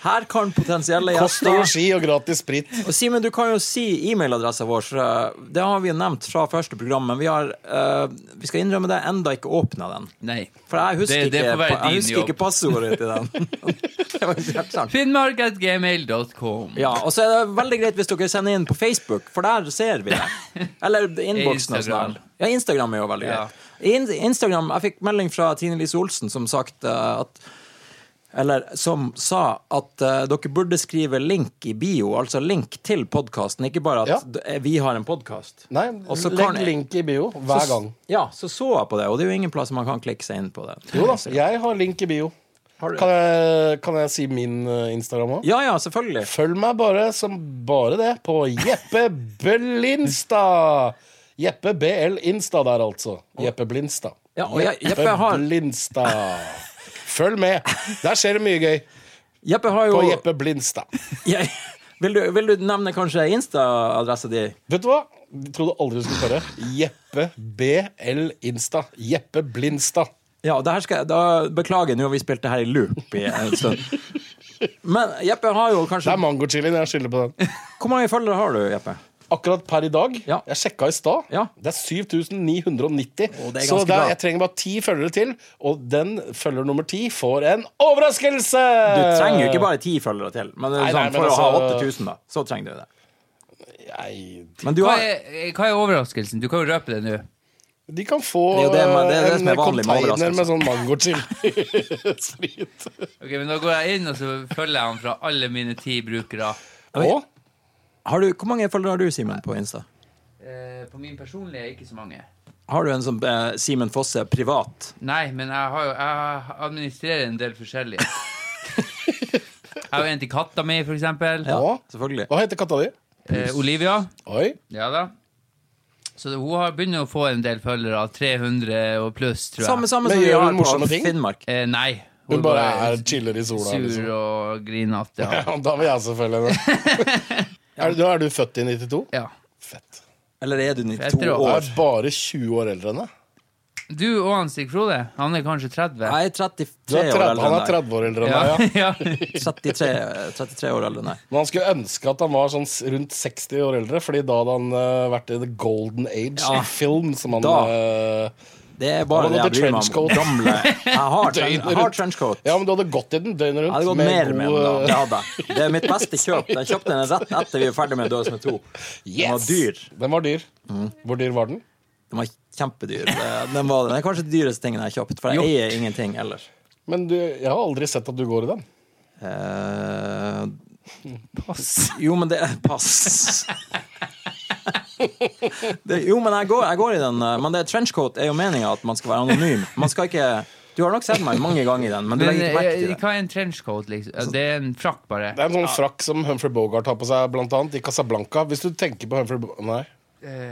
Speaker 3: Her kan potensielle
Speaker 1: Kost og
Speaker 3: gjester
Speaker 1: logi og gratis sprit.
Speaker 3: Og Simen, du kan jo si e-mailadressa vår. så eh, Det har vi jo nevnt fra første program, men vi, har, eh, vi skal innrømme det, enda ikke åpna den.
Speaker 2: Nei.
Speaker 3: For jeg husker,
Speaker 2: Det- det får
Speaker 3: ikke,
Speaker 2: være din
Speaker 3: jeg husker
Speaker 2: jobb.
Speaker 3: ikke passordet til den. det var ikke helt sant.
Speaker 2: Finnmark.gmail.com.
Speaker 3: Ja, Og så er det veldig greit hvis dere sender inn på Facebook, for der ser vi det. Eller innboksen. og sånn
Speaker 2: Instagram.
Speaker 3: der. Ja, Instagram er jo veldig
Speaker 2: Ja.
Speaker 3: greit. In Instagram, Jeg fikk melding fra Tine Lise Olsen som sagt eh, at eller som sa at eh, dere burde skrive link i bio, altså link til podkasten, ikke bare at
Speaker 1: Ja.
Speaker 3: d- eh, vi har en podkast.
Speaker 1: Nei,
Speaker 3: Og så kan
Speaker 1: legg
Speaker 3: jeg-
Speaker 1: link i bio hver gang.
Speaker 3: Ja, så så jeg på det, og det er jo ingen plass man kan klikke seg inn på det.
Speaker 1: Jo da, jeg har link i bio.
Speaker 3: Har du-
Speaker 1: Kan jeg, kan jeg si min eh, Instagram òg?
Speaker 3: Ja ja, selvfølgelig.
Speaker 1: Følg meg bare som bare det på Jeppe Blinstad. Jeppe BL Insta der, altså. Jeppe Blinstad.
Speaker 3: Ja, og jeg- Jeppe har-
Speaker 1: Blinstad. Følg med. Der skjer det mye gøy.
Speaker 3: Jeppe har jo
Speaker 1: På Jeppe Blinstad.
Speaker 3: Jeg, vil, du, vil du nevne kanskje Insta-adressa di?
Speaker 1: Vet du hva? Jeg trodde aldri du skulle spørre. Jeppe BL Insta. Jeppe Blinstad.
Speaker 3: Ja, og det her skal jeg, da Beklager, nå har vi spilt det her i loop i en stund. Men Jeppe har jo
Speaker 1: Det
Speaker 3: kanskje
Speaker 1: er mangochilien jeg skylder på den.
Speaker 3: Hvor mange følgere har du, Jeppe?
Speaker 1: Akkurat per i dag.
Speaker 3: Ja.
Speaker 1: Jeg sjekka i stad.
Speaker 3: Ja.
Speaker 1: Det er 7990.
Speaker 3: Å, det er
Speaker 1: så det
Speaker 3: ganske
Speaker 1: er,
Speaker 3: bra.
Speaker 1: jeg trenger bare ti følgere til, og den følger nummer ti får en overraskelse!
Speaker 3: Du trenger jo ikke bare ti følgere til, men, det er
Speaker 1: Nei, nei, men
Speaker 3: sånn, for å ha
Speaker 1: altså-
Speaker 3: 8000, da, så trenger du det.
Speaker 1: Nei,
Speaker 3: Men du
Speaker 2: Hva
Speaker 3: har
Speaker 2: er, eh, hva er overraskelsen? Du kan jo røpe det nå.
Speaker 1: de kan få
Speaker 3: Det er jo det, men det er det
Speaker 1: eh,
Speaker 3: som
Speaker 1: en
Speaker 3: er vanlig med
Speaker 1: container
Speaker 3: overraskelser.
Speaker 1: med sånn mangochili-sprit.
Speaker 2: Ok, men Da går jeg inn og så følger jeg han fra alle mine ti brukere.
Speaker 1: og
Speaker 3: Har du, Hvor mange følgere har du, Simen, på Insta?
Speaker 2: Eh, på min personlige ikke så mange.
Speaker 3: Har du en sånn eh, Simen Fosse privat?
Speaker 2: Nei, men jeg, har jo, jeg administrerer en del forskjellige. Jeg har jo en til katta mi, for eksempel.
Speaker 3: Ja,
Speaker 1: Å?
Speaker 3: selvfølgelig.
Speaker 1: hva heter katta di?
Speaker 2: Eh, Olivia.
Speaker 1: Oi.
Speaker 2: Ja da. Så hun har begynner å få en del følgere. 300 og pluss, tror jeg.
Speaker 3: Samme, samme
Speaker 1: Men
Speaker 3: som vi
Speaker 1: gjør hun
Speaker 3: har
Speaker 1: morsomme
Speaker 3: på
Speaker 1: ting?
Speaker 3: Finnmark.
Speaker 2: Eh, nei.
Speaker 1: Hun bare er chiller i sola.
Speaker 2: sur
Speaker 1: Liksom.
Speaker 2: og grinete. Ja.
Speaker 1: Ja, da vil jeg selvfølgelig det. Er, du- er du født i 92?
Speaker 2: ja.
Speaker 1: Fett.
Speaker 3: Eller er du
Speaker 2: Fett
Speaker 3: 92
Speaker 2: råd.
Speaker 1: Jeg
Speaker 3: år?
Speaker 1: er bare 20 år eldre enn deg.
Speaker 2: Du og han Stig Frode, han er kanskje 30?
Speaker 3: Jeg er 33
Speaker 1: Du er 30,
Speaker 3: år eldre
Speaker 1: han
Speaker 3: enn
Speaker 1: er
Speaker 3: deg.
Speaker 1: 30 år eldre enn deg, ja.
Speaker 2: ja.
Speaker 3: 33, 33 år eldre enn deg.
Speaker 1: Men han skulle ønske at han var sånn s- rundt 60 år eldre, Fordi da hadde han eh, vært i the golden age
Speaker 3: Ja.
Speaker 1: i film. Som han,
Speaker 3: Da.
Speaker 1: eh,
Speaker 3: Det er
Speaker 1: Da
Speaker 3: bare det
Speaker 1: var
Speaker 3: jeg
Speaker 1: det
Speaker 3: bryr meg om.
Speaker 1: trenchcoat.
Speaker 3: Gamle. Jeg har,
Speaker 1: Døgnet
Speaker 3: tren jeg har
Speaker 1: rundt.
Speaker 3: trenchcoat.
Speaker 1: ja, men du hadde gått i den døgnet rundt.
Speaker 3: Jeg hadde gått mer med den da.
Speaker 1: god,
Speaker 3: Det
Speaker 1: eh,
Speaker 3: hadde jeg. Det er mitt beste kjøp. Jeg kjøpte den rett etter vi var ferdig med Dødsmed 2. Den var
Speaker 1: yes!
Speaker 3: dyr. Mm.
Speaker 1: Den var dyr. Hvor dyr var den?
Speaker 3: Den var kjempedyr. Det- Den var den er kanskje den dyreste tingen jeg har kjøpt, for jeg eier ingenting ellers.
Speaker 1: Men du, jeg har aldri sett at du går i den.
Speaker 3: Eh,
Speaker 2: Pass.
Speaker 3: jo, men det Pass. Det, jo, men jeg går, jeg går i den. eh, Men det trenchcoat er jo meninga at man skal være anonym. Man skal ikke Du har nok sett meg mange ganger i den, men du
Speaker 2: Men
Speaker 3: legger ikke merke
Speaker 2: eh,
Speaker 3: til det.
Speaker 2: hva er en trenchcoat, liksom? Ja, Det er en frakk, bare.
Speaker 1: Det er en sånn frakk som Humphrey Bogart har på seg, blant annet, i Casablanca. Hvis du tenker på Humphrey Bo Nei.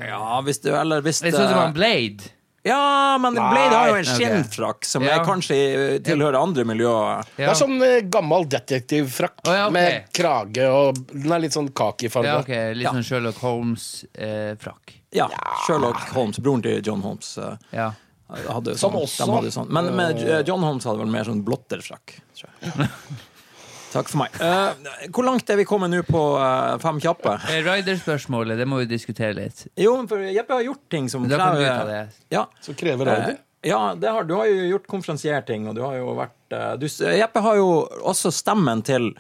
Speaker 3: Ja, hvis du, eller hvis
Speaker 2: Det er sånn som
Speaker 3: eh,
Speaker 2: han Blade.
Speaker 3: Ja, men Blade har jo en
Speaker 2: Nei.
Speaker 3: skinnfrakk som
Speaker 2: Ja.
Speaker 3: er kanskje eh, tilhører andre miljøer.
Speaker 1: Det
Speaker 2: Ja.
Speaker 1: er sånn eh, gammel detektivfrakk
Speaker 2: Å, ja, ok.
Speaker 1: med krage og Den er litt sånn kakifarga.
Speaker 2: Ja, ok, Litt
Speaker 3: Ja.
Speaker 2: sånn Sherlock eh, Holmes-frakk.
Speaker 3: Ja, Sherlock Holmes, broren til John Holmes, eh,
Speaker 2: ja.
Speaker 3: hadde
Speaker 1: Som
Speaker 3: sånn.
Speaker 1: også-
Speaker 3: De hadde sånn. Men, men eh, John Holmes hadde vel mer sånn blotterfrakk, tror jeg. Takk for meg. Eh, hvor langt er vi kommet nå på eh, fem kjappe?
Speaker 2: Eh, Rider-spørsmålet, det må vi diskutere litt.
Speaker 3: Jo, men for Jeppe har gjort ting som
Speaker 2: Men Da kan du
Speaker 3: krever-
Speaker 2: ta det.
Speaker 3: Ja.
Speaker 1: Så krever Raider.
Speaker 3: Eh, Ja, det har, du har eh, jo gjort konferansierting, og du har jo vært eh, du, s- Jeppe har jo også stemmen til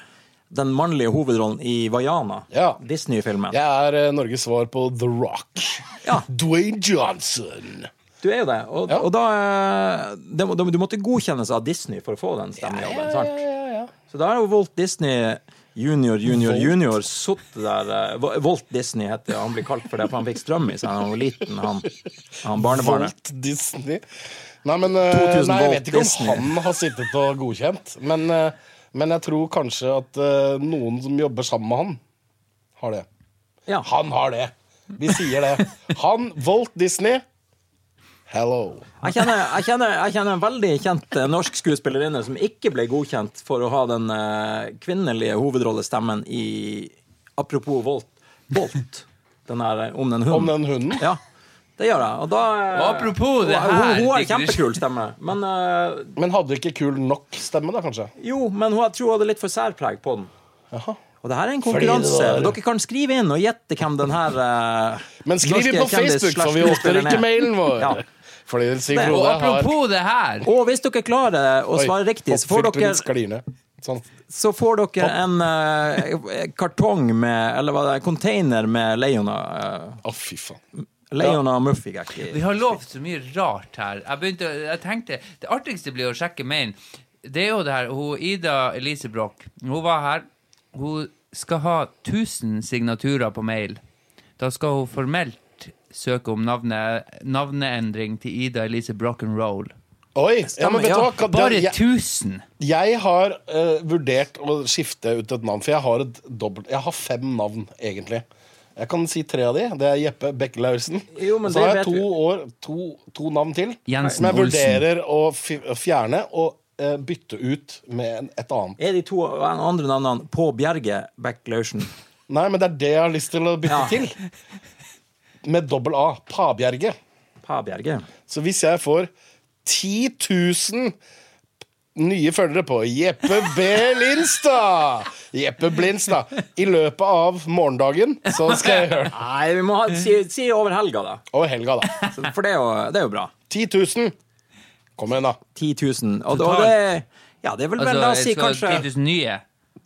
Speaker 3: den mannlige hovedrollen i Vaiana.
Speaker 1: Ja.
Speaker 3: Disney-filmen.
Speaker 1: Jeg er eh, Norges svar på The Rock.
Speaker 3: Ja.
Speaker 1: Dwayne Johnson.
Speaker 3: Du er jo det. Og,
Speaker 1: Ja.
Speaker 3: og da, eh, det, må- du måtte godkjennes av Disney for å få den stemmejobben. sant? Så da har jo Walt Disney junior, junior,
Speaker 1: Walt.
Speaker 3: junior sittet der eh, Wa- Walt Disney heter han, han blir kalt for det, for han fikk strøm i seg da han var liten, han, han barnebarnet.
Speaker 1: Walt Disney. Nei, men eh,
Speaker 3: 2000
Speaker 1: nei, jeg
Speaker 3: Walt
Speaker 1: vet ikke om
Speaker 3: Disney.
Speaker 1: han har sittet og godkjent. Men, eh, men jeg tror kanskje at eh, noen som jobber sammen med han, har det.
Speaker 3: Ja.
Speaker 1: Han har det. Vi sier det. Han, Walt Disney Hello.
Speaker 3: Jeg kjenner, jeg, kjenner, jeg kjenner en veldig kjent eh, norsk skuespillerinne som ikke ble godkjent for å ha den eh, kvinnelige hovedrollestemmen i Apropos Volt. Volt den her, eh, om den hunden.
Speaker 1: Om den hunden?
Speaker 3: Ja, det gjør jeg. Og da eh,
Speaker 2: Og apropos det
Speaker 3: hun- Hun,
Speaker 2: her,
Speaker 3: hun har
Speaker 2: Dick Richard.
Speaker 3: kjempekul stemme, men eh,
Speaker 1: Men hadde ikke kul nok stemme, da, kanskje?
Speaker 3: jo, men hun, jeg tror hun hadde litt for særpreg på den.
Speaker 1: Jaha.
Speaker 3: Og det her er en
Speaker 1: Fordi det
Speaker 3: konkurranse.
Speaker 1: var-
Speaker 3: Dere kan skrive inn og gjette hvem den her eh,
Speaker 1: Men skriv
Speaker 3: norske
Speaker 1: inn på
Speaker 3: kjendis-
Speaker 1: Facebook, for vi åpner ikke
Speaker 3: slash skuespilleren er.
Speaker 1: mailen vår.
Speaker 3: Ja.
Speaker 1: Fordi Siv
Speaker 3: Men-
Speaker 2: Og
Speaker 1: Frode har
Speaker 2: apropos det her
Speaker 3: Og hvis dere klarer å svare riktig, så får
Speaker 1: dere
Speaker 3: dere
Speaker 1: Sånn.
Speaker 3: så får dere en eh, kartong med Eller hva det er, container med Leona eh,
Speaker 1: Å, fy faen.
Speaker 3: Leona Muffigaki.
Speaker 2: Vi har lovt så mye rart her. Jeg, begynte, jeg tenkte, Det artigste blir å sjekke mailen. Det er jo det her. Hun, Ida Elise Broch hun var her. Hun skal ha 1000 signaturer på mail. Da skal hun formelt søke om navne, navneendring til Ida Elise Brock'n'Roll.
Speaker 1: Oi! Ja, men vet du
Speaker 3: ja.
Speaker 1: hva? Kan-
Speaker 2: Bare
Speaker 1: jeg,
Speaker 2: 1000!
Speaker 1: jeg har eh, vurdert å skifte ut et navn, for jeg har et dobbelt Jeg har fem navn, egentlig. Jeg kan si tre av de. Det er Jeppe Bekkelausen.
Speaker 3: Jo, men
Speaker 1: Så
Speaker 3: det
Speaker 1: har jeg
Speaker 3: vet
Speaker 1: to,
Speaker 3: vi.
Speaker 1: år, to, to navn til
Speaker 2: Jensen
Speaker 1: som jeg
Speaker 2: Olsen.
Speaker 1: vurderer å fi- å fjerne og eh, bytte ut med en- et annet.
Speaker 3: Er de to andre navnene på Bjerge Backlausen?
Speaker 1: Nei, men det er det jeg har lyst til å bytte
Speaker 3: Ja.
Speaker 1: til. Med dobbel A. Pabjerge.
Speaker 3: Pa Bjerge?
Speaker 1: Så hvis jeg får 10 000 nye følgere på Jeppe B. Lindstad Jeppe Blindstad i løpet av morgendagen, så skal jeg gjøre det.
Speaker 3: Nei, vi må ha, si, si over helga, da.
Speaker 1: Og helga, da.
Speaker 3: Så- For det er jo, det er jo bra.
Speaker 1: 10 000. Kom igjen, da.
Speaker 3: 10 000. Og, og
Speaker 2: Totalt.
Speaker 3: det, ja, det er vel vel,
Speaker 2: Altså,
Speaker 3: la oss si
Speaker 2: jeg skal ha
Speaker 3: kanskje
Speaker 2: 10 000 nye.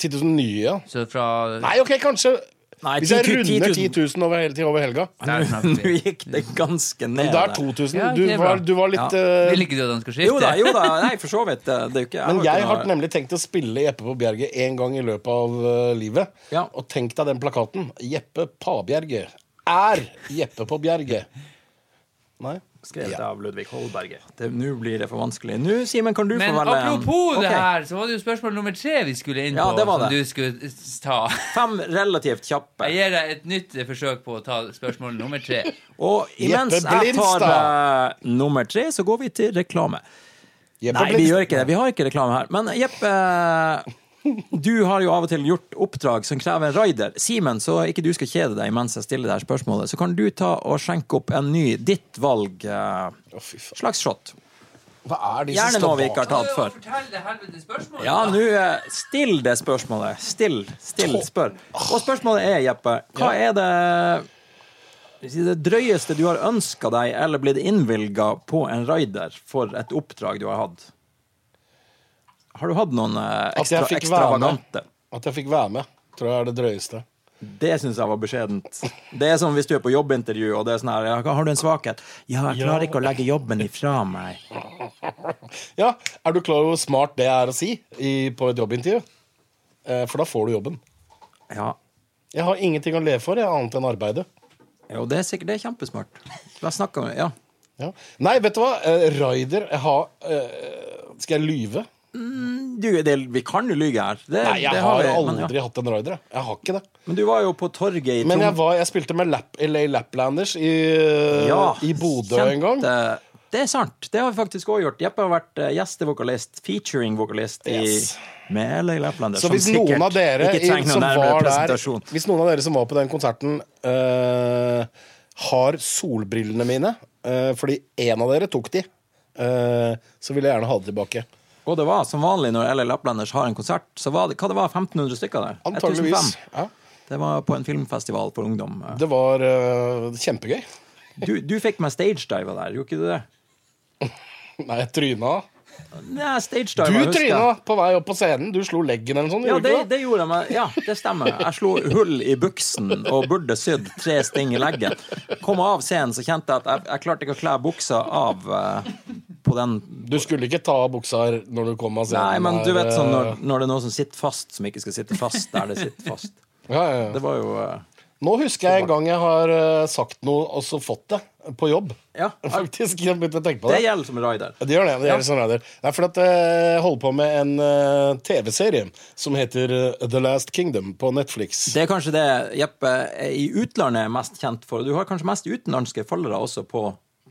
Speaker 1: 10 000 nye.
Speaker 2: Så fra
Speaker 1: Nei, OK, kanskje.
Speaker 3: Nei,
Speaker 1: Hvis jeg
Speaker 3: 10 000.
Speaker 1: runder 10 000 over hele tiden over helga.
Speaker 2: Der snakker
Speaker 3: Nå
Speaker 2: vi.
Speaker 3: gikk det ganske ned.
Speaker 1: Da er
Speaker 3: der.
Speaker 1: 2000.
Speaker 2: Ja,
Speaker 1: Du
Speaker 2: det er bra.
Speaker 1: var, du var litt
Speaker 3: Ja.
Speaker 1: eh,
Speaker 2: Vil ikke du at han skal skifte?
Speaker 3: øh, Jo da, jo da. Nei, for så vidt. Det, det er jo ikke,
Speaker 1: Men jeg har
Speaker 3: ikke noe-
Speaker 1: nemlig tenkt å spille Jeppe på Bjerget én gang i løpet av eh, livet.
Speaker 3: Ja.
Speaker 1: Og tenk deg den plakaten. Jeppe Pabjerge er Jeppe på Bjerget. Nei?
Speaker 3: skrevet av Ludvig Holberge. Det- Nå blir det for vanskelig. Nå, Simen, kan du
Speaker 2: Men
Speaker 3: få velge en-
Speaker 2: apropos det
Speaker 3: Ok.
Speaker 2: her, så var det jo spørsmål nummer tre vi skulle inn
Speaker 3: Ja,
Speaker 2: på.
Speaker 3: det var
Speaker 2: som
Speaker 3: det.
Speaker 2: du skulle s- ta.
Speaker 3: Fem relativt kjappe.
Speaker 2: Jeg gir deg et nytt forsøk på å ta spørsmål nummer tre.
Speaker 3: Og imens
Speaker 1: Jeppe
Speaker 3: jeg tar
Speaker 1: Blindstad.
Speaker 3: eh, nummer tre, så går vi til reklame.
Speaker 1: Jeppe
Speaker 3: Nei, vi
Speaker 1: Blitz-
Speaker 3: gjør ikke det. Vi har ikke reklame her. Men Jeppe, du har jo av og til gjort oppdrag som krever en raider. Simen, så ikke du skal kjede deg mens jeg stiller det her spørsmålet, så kan du ta og skjenke opp en ny ditt valg eh,
Speaker 1: Å, fy faen.
Speaker 3: slags shot.
Speaker 1: Hva er de
Speaker 3: Gjerne
Speaker 1: som
Speaker 3: noe
Speaker 1: står
Speaker 3: vi
Speaker 1: bak?
Speaker 3: ikke har tatt før.
Speaker 2: Fortell det helvete spørsmålet.
Speaker 3: Ja, nå eh, still det spørsmålet. Still, still, spør. Og spørsmålet er, Jeppe, hva er det det drøyeste du har ønska deg eller blitt innvilga på en raider for et oppdrag du har hatt? Har du hatt noen eh,
Speaker 1: At jeg
Speaker 3: ekstra,
Speaker 1: fikk være med.
Speaker 3: ekstravagante?
Speaker 1: At jeg fikk være med, tror jeg er det drøyeste.
Speaker 3: Det syns jeg var beskjedent. Det er som hvis du er på jobbintervju, og det er sånn her ja, Har du en svakhet? Ja, jeg klarer ikke å legge jobben ifra meg.
Speaker 1: Ja, Er du klar over hvor smart det er å si i, på et jobbintervju? Eh, for da får du jobben.
Speaker 3: Ja,
Speaker 1: Jeg har ingenting å leve for, jeg, annet enn arbeidet.
Speaker 3: jo, det er sikkert det er kjempesmart. Jeg snakka med Ja.
Speaker 1: Ja. Nei, vet du hva? Eh, Raider jeg har, eh, Skal jeg lyve?
Speaker 3: Du, det, vi kan jo lyge her. Det,
Speaker 1: Nei, jeg
Speaker 3: det
Speaker 1: har
Speaker 3: vi,
Speaker 1: aldri
Speaker 3: men, ja.
Speaker 1: hatt en raider. jeg. Jeg har ikke det.
Speaker 3: Men du var jo på torget i
Speaker 1: Men jeg,
Speaker 3: Trond-
Speaker 1: var, jeg spilte med Lap, LA Laplanders i, eh, i Bodø
Speaker 3: kjente-
Speaker 1: en gang.
Speaker 3: Det er sant. Det har vi faktisk òg gjort. Jeppe har vært eh, gjestevokalist, featuring-vokalist i
Speaker 1: Yes.
Speaker 3: med LA Laplander.
Speaker 1: Så hvis noen, av dere,
Speaker 3: ikke
Speaker 1: i,
Speaker 3: trenger noen
Speaker 1: som
Speaker 3: nærmere
Speaker 1: var der,
Speaker 3: presentasjon.
Speaker 1: hvis noen av dere som var på den konserten, eh, har solbrillene mine eh, fordi én av dere tok de, eh, så vil jeg gjerne ha det tilbake.
Speaker 3: Og det var som vanlig når LA Laplanders har en konsert, så var det, hva det var 1500 stykker der?
Speaker 1: Antageligvis.
Speaker 3: 1005.
Speaker 1: Ja,
Speaker 3: Det var på en filmfestival for ungdom.
Speaker 1: det var eh, kjempegøy.
Speaker 3: Du, du fikk meg stagediva der, gjorde ikke du det?
Speaker 1: Nei, jeg tryna.
Speaker 3: Nei, stage dive,
Speaker 1: Du
Speaker 3: jeg husker.
Speaker 1: tryna på vei opp på scenen. Du slo leggen eller noe sånt.
Speaker 3: Ja,
Speaker 1: gjorde
Speaker 3: det,
Speaker 1: du ikke det?
Speaker 3: det gjorde jeg. men- Ja, det stemmer. Jeg slo hull i buksen og burde sydd tre sting i leggen. Kom av scenen, så kjente jeg at jeg, jeg klarte ikke å kle buksa av eh, på den
Speaker 1: Du skulle ikke ta av buksa her når du kom av scenen.
Speaker 3: Nei, men du
Speaker 1: her,
Speaker 3: vet sånn når,
Speaker 1: eh,
Speaker 3: når det er noe som sitter fast, som ikke skal sitte fast der det sitter fast.
Speaker 1: ja, ja,
Speaker 3: Det
Speaker 1: ja.
Speaker 3: var jo eh,
Speaker 1: Nå husker jeg en gang jeg har eh, sagt noe og så fått det på jobb.
Speaker 3: Ja.
Speaker 1: Faktisk. Jeg begynte å tenke på det.
Speaker 3: Det gjelder som rider.
Speaker 1: Ja, Det gjør det. det gjør det som radioer. Det er fordi at jeg holder på med en eh, TV-serie som heter eh, The Last Kingdom på Netflix.
Speaker 3: Det er kanskje det Jeppe er i utlandet er mest kjent for. Du har kanskje mest utenlandske følgere også på,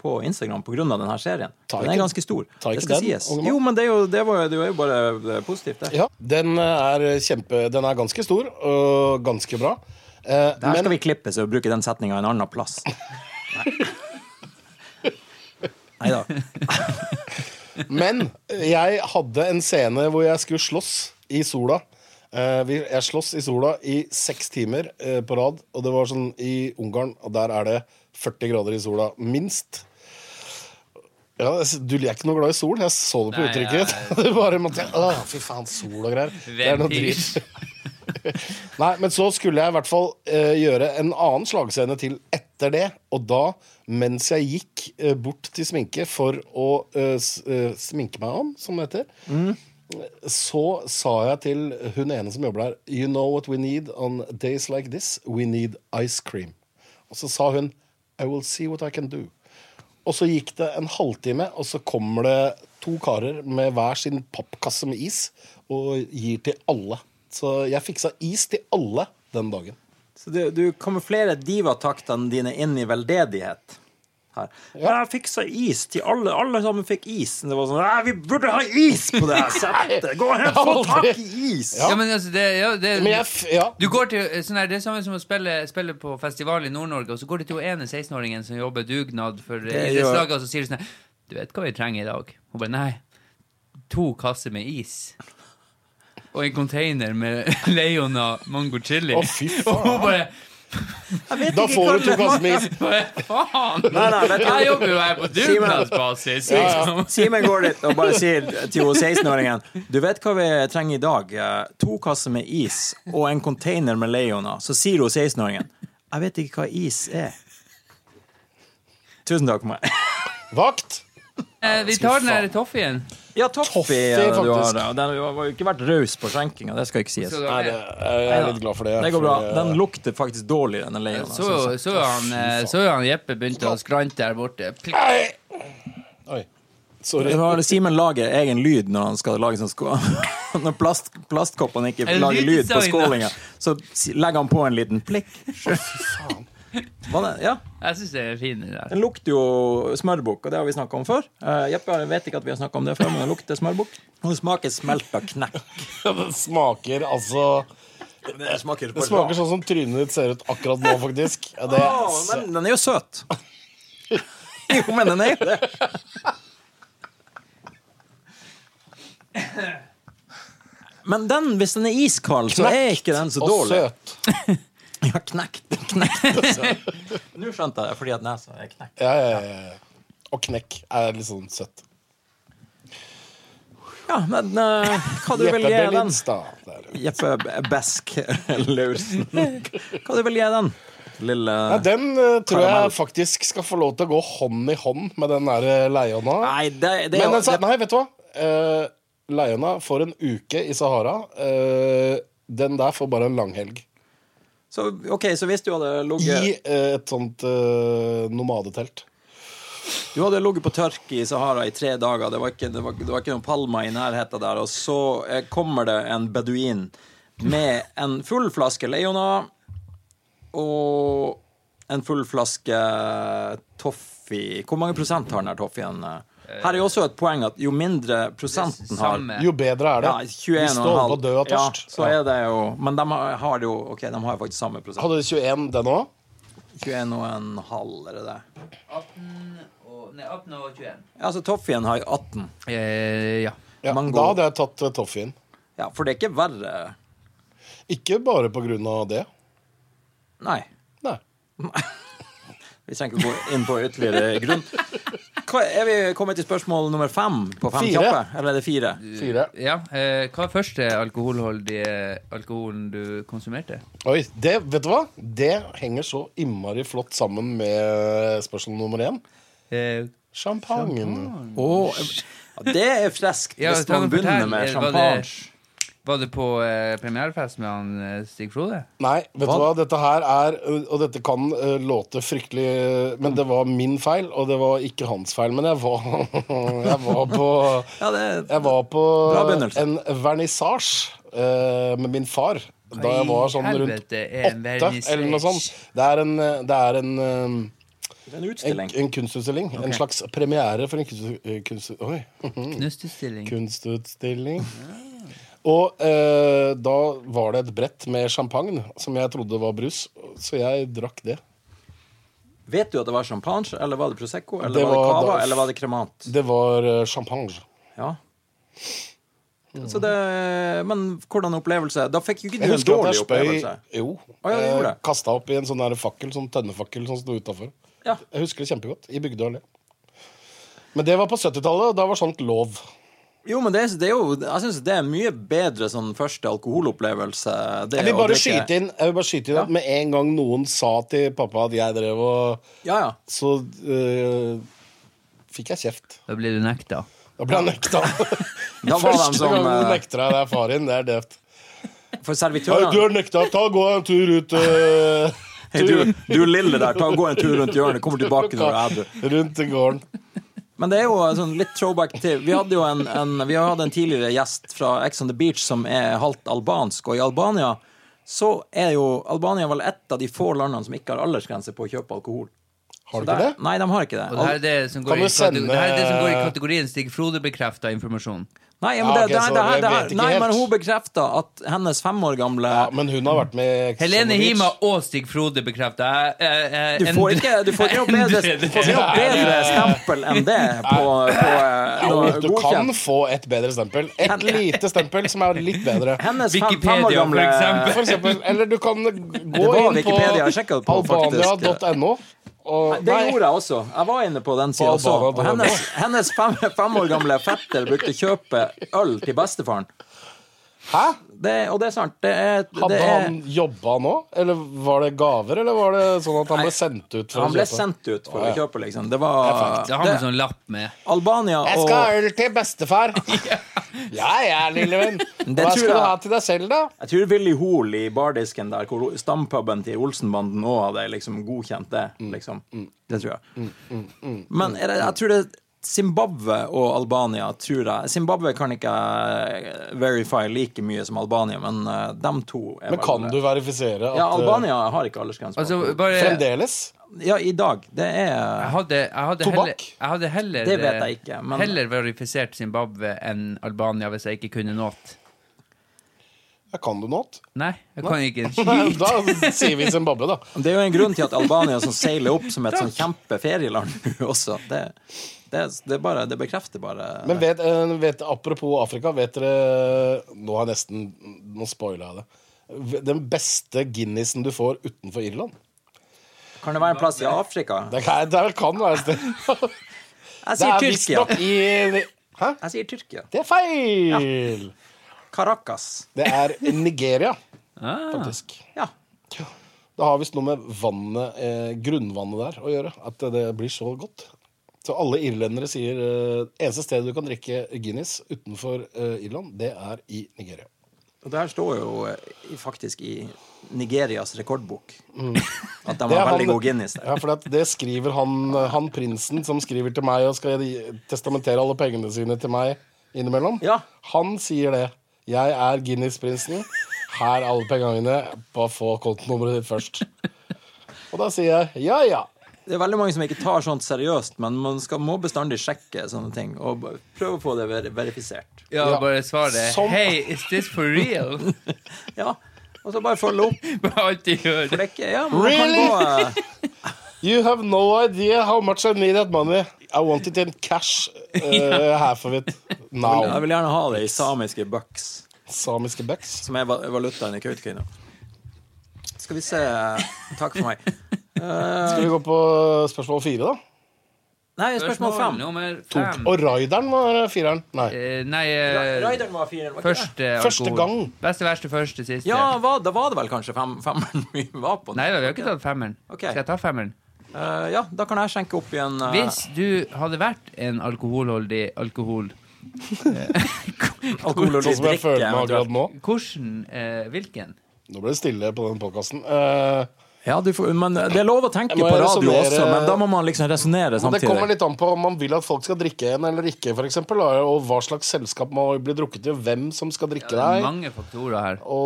Speaker 3: på Instagram pga. denne serien.
Speaker 1: Ta
Speaker 3: Den er
Speaker 1: ikke-
Speaker 3: ganske stor.
Speaker 1: ta
Speaker 3: Det
Speaker 1: ikke
Speaker 3: skal
Speaker 1: den,
Speaker 3: sies.
Speaker 1: unge mann.
Speaker 3: Jo, men det er jo, det var, jo- det er jo bare eh, positivt, det.
Speaker 1: Ja, den eh, er kjempe Den er ganske stor og ganske bra. Eh,
Speaker 3: Der skal
Speaker 1: men
Speaker 3: vi klippe så bruke den setninga en annen plass. Nei da.
Speaker 1: Men jeg hadde en scene hvor jeg skulle slåss i sola. Eh, vi- Jeg slåss i sola i seks timer eh, på rad, og det var sånn i Ungarn, og der er det 40 grader i sola, minst. Ja, jeg s- du er ikke noe glad i sol. Jeg så det på
Speaker 2: Nei,
Speaker 1: uttrykket
Speaker 2: jeg-
Speaker 1: ditt. Du bare måtte Å, fy faen, sol og greier. Det er noe
Speaker 2: Ventil.
Speaker 1: drit. Nei, men så skulle jeg i hvert fall eh, gjøre en annen slagscene til etter det. Og da, mens jeg gikk eh, bort til sminke for å eh, s- eh, sminke meg om, som det heter, så sa jeg til hun ene som jobber der, You know what we need on days like this? We need ice cream. Og så sa hun, I will see what I can do. Og så gikk det en halvtime, og så kommer det to karer med hver sin pappkasse med is og gir til alle. Så jeg fiksa is til alle den dagen.
Speaker 3: Så du, du kamuflerer divataktene dine inn i veldedighet. Her. Jeg fiksa is til alle. Alle sammen fikk is. Det var sånn «Nei, Vi burde ha is på det her settet! Gå og få tak i is!
Speaker 2: Ja, men altså, det, ja, det,
Speaker 1: Men jeg, f- ja,
Speaker 2: Du går til, sånn her, det er samme som å spille, spille på festival i Nord-Norge, og så går du til hun ene 16-åringen som jobber dugnad for
Speaker 3: gjør-
Speaker 2: idrettslaget, og så sier du sånn her, Du vet hva vi trenger i dag? Hun bare Nei. To kasser med is. Og en container med Leona mango chili.
Speaker 1: Å, fy faen.
Speaker 2: Og hun bare
Speaker 3: Jeg vet
Speaker 1: da
Speaker 3: ikke
Speaker 1: får du
Speaker 3: hva-
Speaker 1: to kasser med is.
Speaker 2: Hva faen?
Speaker 3: Nei, nei, vet du-
Speaker 2: Jeg jobber jo her på
Speaker 3: Simen-
Speaker 2: dugnadsbasis.
Speaker 3: Simen-
Speaker 2: Liksom.
Speaker 3: Simen går dit og bare sier til hun 16-åringen Du vet hva vi trenger i dag? Eh, To kasser med is og en container med Leona. Så sier hun 16-åringen Jeg vet ikke hva is er. Tusen takk for meg.
Speaker 1: Vakt!
Speaker 2: Eh, Vi tar den her toffien.
Speaker 3: Ja, Toffi,
Speaker 1: Toffi,
Speaker 3: eh, du har,
Speaker 1: faktisk.
Speaker 3: ja, den har jo ikke vært raus på skjenkinga, det skal ikke sies.
Speaker 2: Så
Speaker 3: Nei,
Speaker 2: da-
Speaker 1: Nei, det, jeg er litt glad for det.
Speaker 3: det går bra.
Speaker 1: for, eh,
Speaker 3: Den lukter faktisk dårligere enn Leona.
Speaker 2: Så jo- så jo han, eh, så jo han Jeppe begynte å skrante der borte. Plikk.
Speaker 1: Oi. Sorry.
Speaker 3: Det var Simen lager egen lyd når han skal lage sånn skå... Når plast, plastkoppene ikke
Speaker 2: En
Speaker 3: lager lyd på
Speaker 2: lyddesigner.
Speaker 3: skålinga, så si- legger han på en liten plikk. Hva det- Ja,
Speaker 2: Jeg syns det er fint. det der.
Speaker 3: den lukter jo smørbukk, og det har vi snakka om før. Eh, Jeppe jeg vet ikke at vi har snakket om det før, men den lukter smørbukk. Og den smaker smelta knekk.
Speaker 1: Det smaker altså
Speaker 3: Det smaker,
Speaker 1: Det smaker sånn som trynet ditt ser ut akkurat nå, faktisk. Ja, Det,
Speaker 3: men den er jo søt. jo, men den er jo det. Men den, hvis den er iskald, så er ikke den så
Speaker 1: og
Speaker 3: dårlig.
Speaker 1: søt.
Speaker 3: Ja, knekt. knekt altså. Nå skjønte jeg det, fordi at nesa er knekt.
Speaker 1: Ja, ja, ja, ja. Og knekk er litt sånn søtt.
Speaker 3: Ja, men eh, hva du vil
Speaker 1: Jeppe
Speaker 3: gi den?
Speaker 1: Berlinstad. Det er det.
Speaker 3: Jeppe Besk Laursen. Hva du vil gi den? Lille
Speaker 1: Ja, den eh, tror
Speaker 3: Karamell.
Speaker 1: jeg faktisk skal få lov til å gå hånd i hånd med den der leiona.
Speaker 3: Nei, det, det er
Speaker 1: Men
Speaker 3: jo
Speaker 1: den sa,
Speaker 3: det-
Speaker 1: nei, vet du hva? Uh, leiona får en uke i Sahara. Eh, den der får bare en langhelg.
Speaker 3: så, OK, så hvis du hadde
Speaker 1: I
Speaker 3: ligget
Speaker 1: eh, et sånt eh, nomadetelt.
Speaker 3: Du hadde ligget på tørk i Sahara i tre dager, det var ikke, det var, det var ikke noen palmer i nærheten der, og så eh, kommer det en beduin med en full flaske Leona og en full flaske Toffi. Hvor mange prosent har den her Toffien? Her er jo også et poeng at jo mindre prosenten har
Speaker 2: Samme.
Speaker 1: Jo bedre er det.
Speaker 3: ja, 21,5
Speaker 1: Hvis du holder på å dø av tørst.
Speaker 3: Ja, så er det jo Men de har- har jo Ok, de har jo faktisk samme prosent.
Speaker 1: Hadde 21 den òg?
Speaker 3: 21,5, er det det?
Speaker 2: 18 og, nei, 18 og 21.
Speaker 3: Ja, så Toffien har jo 18.
Speaker 2: Eh, ja.
Speaker 1: Ja,
Speaker 3: Mango.
Speaker 1: da hadde jeg tatt eh, toffien.
Speaker 3: Ja, for det er ikke verre
Speaker 1: Ikke bare på grunn av det.
Speaker 3: Nei.
Speaker 1: Nei.
Speaker 3: Vi trenger ikke gå inn på ytterligere grunn. hva, er vi kommet til spørsmål nummer fem på fem
Speaker 1: Fire.
Speaker 3: kjappe? Eller er det fire?
Speaker 1: Fire.
Speaker 2: Ja, eh, Hva er første alkoholholdige alkoholen du konsumerte?
Speaker 1: Oi, det, vet du hva? Det henger så innmari flott sammen med spørsmål nummer én.
Speaker 2: Eh,
Speaker 1: Champagne.
Speaker 3: Åh, ja, det er freskt
Speaker 2: Ja,
Speaker 3: hvis
Speaker 2: ta meg fortell,
Speaker 3: man begynner
Speaker 2: eh,
Speaker 3: med
Speaker 2: var
Speaker 3: champagne.
Speaker 2: det- var det på eh, premierefest med han eh, Stig Frode?
Speaker 1: Nei, vet
Speaker 3: Hva?
Speaker 1: du hva? Dette her er Og dette kan eh, låte fryktelig eh, Men det var min feil, og det var ikke hans feil. Men jeg var, jeg var på
Speaker 3: Ja, det,
Speaker 1: Jeg var på
Speaker 3: Bra begynnelse.
Speaker 1: en vernissasje eh, med min far. Da jeg var sånn
Speaker 2: Oi,
Speaker 1: rundt
Speaker 2: helvete, en
Speaker 1: åtte, eller noe sånt.
Speaker 2: vernissasje.
Speaker 1: Det er en, eh, det er en eh,
Speaker 3: det er en
Speaker 1: En,
Speaker 3: utstilling.
Speaker 1: en kunstutstilling. En slags premiere for en kunst, kunst, oi,
Speaker 2: Knustutstilling.
Speaker 1: kunstutstilling. Og eh, da var det et brett med champagne som jeg trodde var brus, så jeg drakk det.
Speaker 3: Vet du at det var champagne, eller var det Prosecco, eller
Speaker 1: Det
Speaker 3: var det
Speaker 1: var
Speaker 3: Cava,
Speaker 1: da-
Speaker 3: eller var det Cremant?
Speaker 1: Det var eh, champagne.
Speaker 3: Ja. Så det, men hvordan opplevelse? Da fikk jo ikke du
Speaker 1: Jeg
Speaker 3: en
Speaker 1: husker at
Speaker 3: dårlig
Speaker 1: jeg
Speaker 3: opplevelse.
Speaker 1: spøy Jo.
Speaker 3: Å, ja, du gjorde det.
Speaker 1: Kasta opp i en sånn der fakkel, sånn tønnefakkel som sto utafor.
Speaker 3: Ja.
Speaker 1: Jeg husker det kjempegodt. I Bygdøy allé. Men det var på 70-tallet, og da var sånt lov.
Speaker 3: Jo, men det, er- det er jo, jeg syns det er en mye bedre sånn første alkoholopplevelse. Det
Speaker 1: Jeg vil
Speaker 3: å
Speaker 1: bare
Speaker 3: drikke-
Speaker 1: skyte inn, jeg vil bare skyte inn at med en gang noen sa til pappa at jeg drev og
Speaker 3: Ja, ja.
Speaker 1: så øh, fikk jeg kjeft.
Speaker 2: Da blir du nekta.
Speaker 1: Da ble jeg nekta.
Speaker 3: Da var de
Speaker 1: Første
Speaker 3: som
Speaker 1: gang du
Speaker 3: eh,
Speaker 1: nekter deg det er far din, det er døvt.
Speaker 3: For
Speaker 1: Ja, du
Speaker 3: servitørene
Speaker 1: har nekta, ta gå en tur ut øh,
Speaker 3: Hei, du, du lille der, ta og gå en tur rundt hjørnet, kommer tilbake når du er edru.
Speaker 1: rundt i gården.
Speaker 3: Men det er jo sånn litt throwback til Vi hadde jo en, en, vi hadde en tidligere gjest fra Ex on the Beach som er halvt albansk, og i Albania så er jo Albania vel ett av de få landene som ikke har aldersgrense på å kjøpe alkohol.
Speaker 1: Har
Speaker 3: Så
Speaker 1: du ikke
Speaker 3: der-
Speaker 1: det?
Speaker 3: Nei, de har ikke det.
Speaker 2: Og det her er det som går,
Speaker 1: Kan
Speaker 2: i,
Speaker 1: du
Speaker 2: kate-
Speaker 1: sende-
Speaker 2: det her er det som går i kategorien Stig Frode bekrefta informasjon.
Speaker 3: Nei, men,
Speaker 1: Ja,
Speaker 3: det,
Speaker 1: Ah, ok,
Speaker 3: det, her-
Speaker 1: så
Speaker 3: det, her-
Speaker 1: jeg
Speaker 3: det,
Speaker 1: vet
Speaker 3: her-
Speaker 1: ikke
Speaker 3: nei,
Speaker 1: helt.
Speaker 3: men hun bekrefta at hennes fem år gamle
Speaker 1: Ja, men hun har vært med i
Speaker 2: Helene
Speaker 1: Summer Beach.
Speaker 2: Hima og Stig Frode bekrefta.
Speaker 3: Du får ikke, du får ikke noe bedre, du får ikke noe bedre stempel enn det på, på eh,
Speaker 1: Jo,
Speaker 3: noe
Speaker 1: du
Speaker 3: godkjent.
Speaker 1: kan få et bedre stempel. Et lite stempel som er litt bedre.
Speaker 3: Hennes fem, fem år
Speaker 2: Wikipedia, for
Speaker 3: gamle
Speaker 2: eksempel.
Speaker 1: For eksempel, eller du kan gå
Speaker 3: var
Speaker 1: inn på
Speaker 3: Wikipedia jeg sjekket på, faktisk.
Speaker 1: albania.no. og-
Speaker 3: Det
Speaker 1: Nei.
Speaker 3: gjorde jeg også. Jeg var inne på den sida
Speaker 1: På
Speaker 3: også. Og
Speaker 1: Albana, på
Speaker 3: hennes, hennes fem, fem år gamle fetter brukte kjøpe øl til bestefaren.
Speaker 1: Hæ?
Speaker 3: Det, og det er sant. Det er, det
Speaker 1: Hadde
Speaker 3: er,
Speaker 1: han jobba nå? Eller var det gaver, eller var det sånn at han ble sendt ut? For
Speaker 3: han ble
Speaker 1: å kjøpe?
Speaker 3: sendt ut for
Speaker 1: Å,
Speaker 3: å
Speaker 1: ja.
Speaker 3: kjøpe, liksom. Det var
Speaker 2: Det har man
Speaker 3: det-
Speaker 2: sånn lapp med.
Speaker 3: Albania
Speaker 1: Jeg
Speaker 3: og
Speaker 1: skal ha øl til bestefar. ja ja, lille venn.
Speaker 3: Det
Speaker 1: Hva
Speaker 3: tror
Speaker 1: skal du
Speaker 3: jeg.
Speaker 1: ha til deg selv, da?
Speaker 3: Jeg tror Willy Hoel i bardisken der, hvor stampuben til Olsenbanden òg hadde liksom godkjent det.
Speaker 1: Mm,
Speaker 3: Liksom. Det tror jeg. Men er det, jeg tror det Zimbabwe og Albania tror jeg Zimbabwe kan ikke jeg verify like mye som Albania, men eh, dem to er
Speaker 1: Men kan du verifisere at
Speaker 3: Ja,
Speaker 1: eh,
Speaker 3: Albania har ikke aldersgrense. på
Speaker 2: Altså,
Speaker 3: alkohol.
Speaker 2: bare
Speaker 1: Fremdeles?
Speaker 3: ja, i dag. Det
Speaker 2: jeg
Speaker 3: er
Speaker 2: hadde, jeg hadde
Speaker 1: Tobakk?
Speaker 2: heller, jeg hadde heller, eh,
Speaker 3: Det vet jeg ikke, men-
Speaker 2: heller verifisert Zimbabwe enn Albania hvis jeg ikke kunne nåt.
Speaker 1: Ja, kan du noe?
Speaker 2: Nei, jeg kan ikke en
Speaker 1: Nei,
Speaker 2: skit.
Speaker 1: Da sier vi Zimbabwe, da.
Speaker 3: Det er jo en grunn til at Albania som seiler opp som et sånn kjempeferieland nå også. Det, det, det, er bare, det bekrefter bare
Speaker 1: Men vet, eh, vet, apropos Afrika, vet dere Nå har jeg nesten Nå spoila jeg det. Den beste Guinnessen du får utenfor Irland.
Speaker 3: Kan det være en plass i Afrika?
Speaker 1: Det kan, det kan være et sted.
Speaker 3: Jeg
Speaker 1: Det
Speaker 3: sier
Speaker 1: er
Speaker 3: Tyrkia.
Speaker 1: visstnok i Hæ?
Speaker 3: Jeg sier Tyrkia.
Speaker 1: Det er feil!
Speaker 3: Caracas.
Speaker 1: Det er Nigeria,
Speaker 2: Ah,
Speaker 1: faktisk.
Speaker 3: Ja.
Speaker 1: Det har visst noe med vannet, eh, grunnvannet der å gjøre. At det blir så godt. Så alle irlendere sier eh, eneste stedet du kan drikke Guinness utenfor eh, Irland, det er i Nigeria.
Speaker 3: Og det her står jo eh, i- faktisk i Nigerias rekordbok at de
Speaker 1: Mm. Det er
Speaker 3: har veldig
Speaker 1: han-
Speaker 3: god Guinness der.
Speaker 1: Ja, for det, det skriver han, han prinsen som skriver til meg og skal gi- testamentere alle pengene sine til meg innimellom.
Speaker 3: Ja.
Speaker 1: Han sier det. Jeg er Guinness-prinsen. Her er alle pengene mine. Bare få kontonummeret ditt først. Og da sier jeg ja, ja.
Speaker 3: Det er veldig mange som ikke tar sånt seriøst, men man skal, må bestandig sjekke sånne ting og b- prøve å få det ver verifisert.
Speaker 2: ja,
Speaker 1: Ja.
Speaker 2: bare svar det.
Speaker 1: Som-
Speaker 2: Hey, is this for real?
Speaker 3: Ja, og så bare følge opp.
Speaker 2: Bare alltid gjør
Speaker 3: For
Speaker 2: det.
Speaker 3: det er ikke, ja, men man kan
Speaker 1: Really?
Speaker 3: gå, eh,
Speaker 1: You have no idea how much I need that money. I want it in cash. Uh, half of it
Speaker 3: jeg
Speaker 1: now.
Speaker 3: vil gjerne ha det i samiske bucks,
Speaker 1: Samiske bucks.
Speaker 3: som er va- valutaen i Kautokeino. Skal vi se Takk for meg.
Speaker 1: Skal vi gå på spørsmål fire, da?
Speaker 3: Nei, spørsmål fem.
Speaker 2: nummer
Speaker 1: To.
Speaker 2: fem.
Speaker 1: Og Raideren var fireren. Nei.
Speaker 2: Um. Eh, nei, eh,
Speaker 3: Raideren var fireren, var ikke det?
Speaker 2: første alkohol.
Speaker 1: Første gang.
Speaker 2: Beste, verste, første, siste.
Speaker 3: Ja, hva, da var det vel kanskje fem, femmeren vi var på?
Speaker 2: Nei, vi har ikke tatt femmeren.
Speaker 3: Ok.
Speaker 2: Skal jeg ta femmeren?
Speaker 3: Eh, ja, da kan jeg skjenke opp igjen. eh,
Speaker 2: Hvis du hadde vært en alkoholholdig alkohol,
Speaker 1: Sånn
Speaker 3: alkoholholdig
Speaker 1: som jeg
Speaker 3: drikke,
Speaker 1: føler meg
Speaker 3: eventuelt.
Speaker 1: akkurat nå.
Speaker 2: hvordan eh, Hvilken?
Speaker 1: Nå ble det stille på den podkasten. Eh,
Speaker 3: Ja, du får, men eh, det er lov å tenke
Speaker 1: Jeg må
Speaker 3: på radio
Speaker 1: resonere-
Speaker 3: også, men da må man liksom resonnere
Speaker 1: det kommer
Speaker 3: samtidig.
Speaker 1: litt an på om man vil at folk skal drikke en eller ikke, for eksempel, da, og hva slags selskap man blir drukket i, og hvem som skal drikke
Speaker 2: Det er
Speaker 1: deg.
Speaker 2: mange faktorer her.
Speaker 1: Og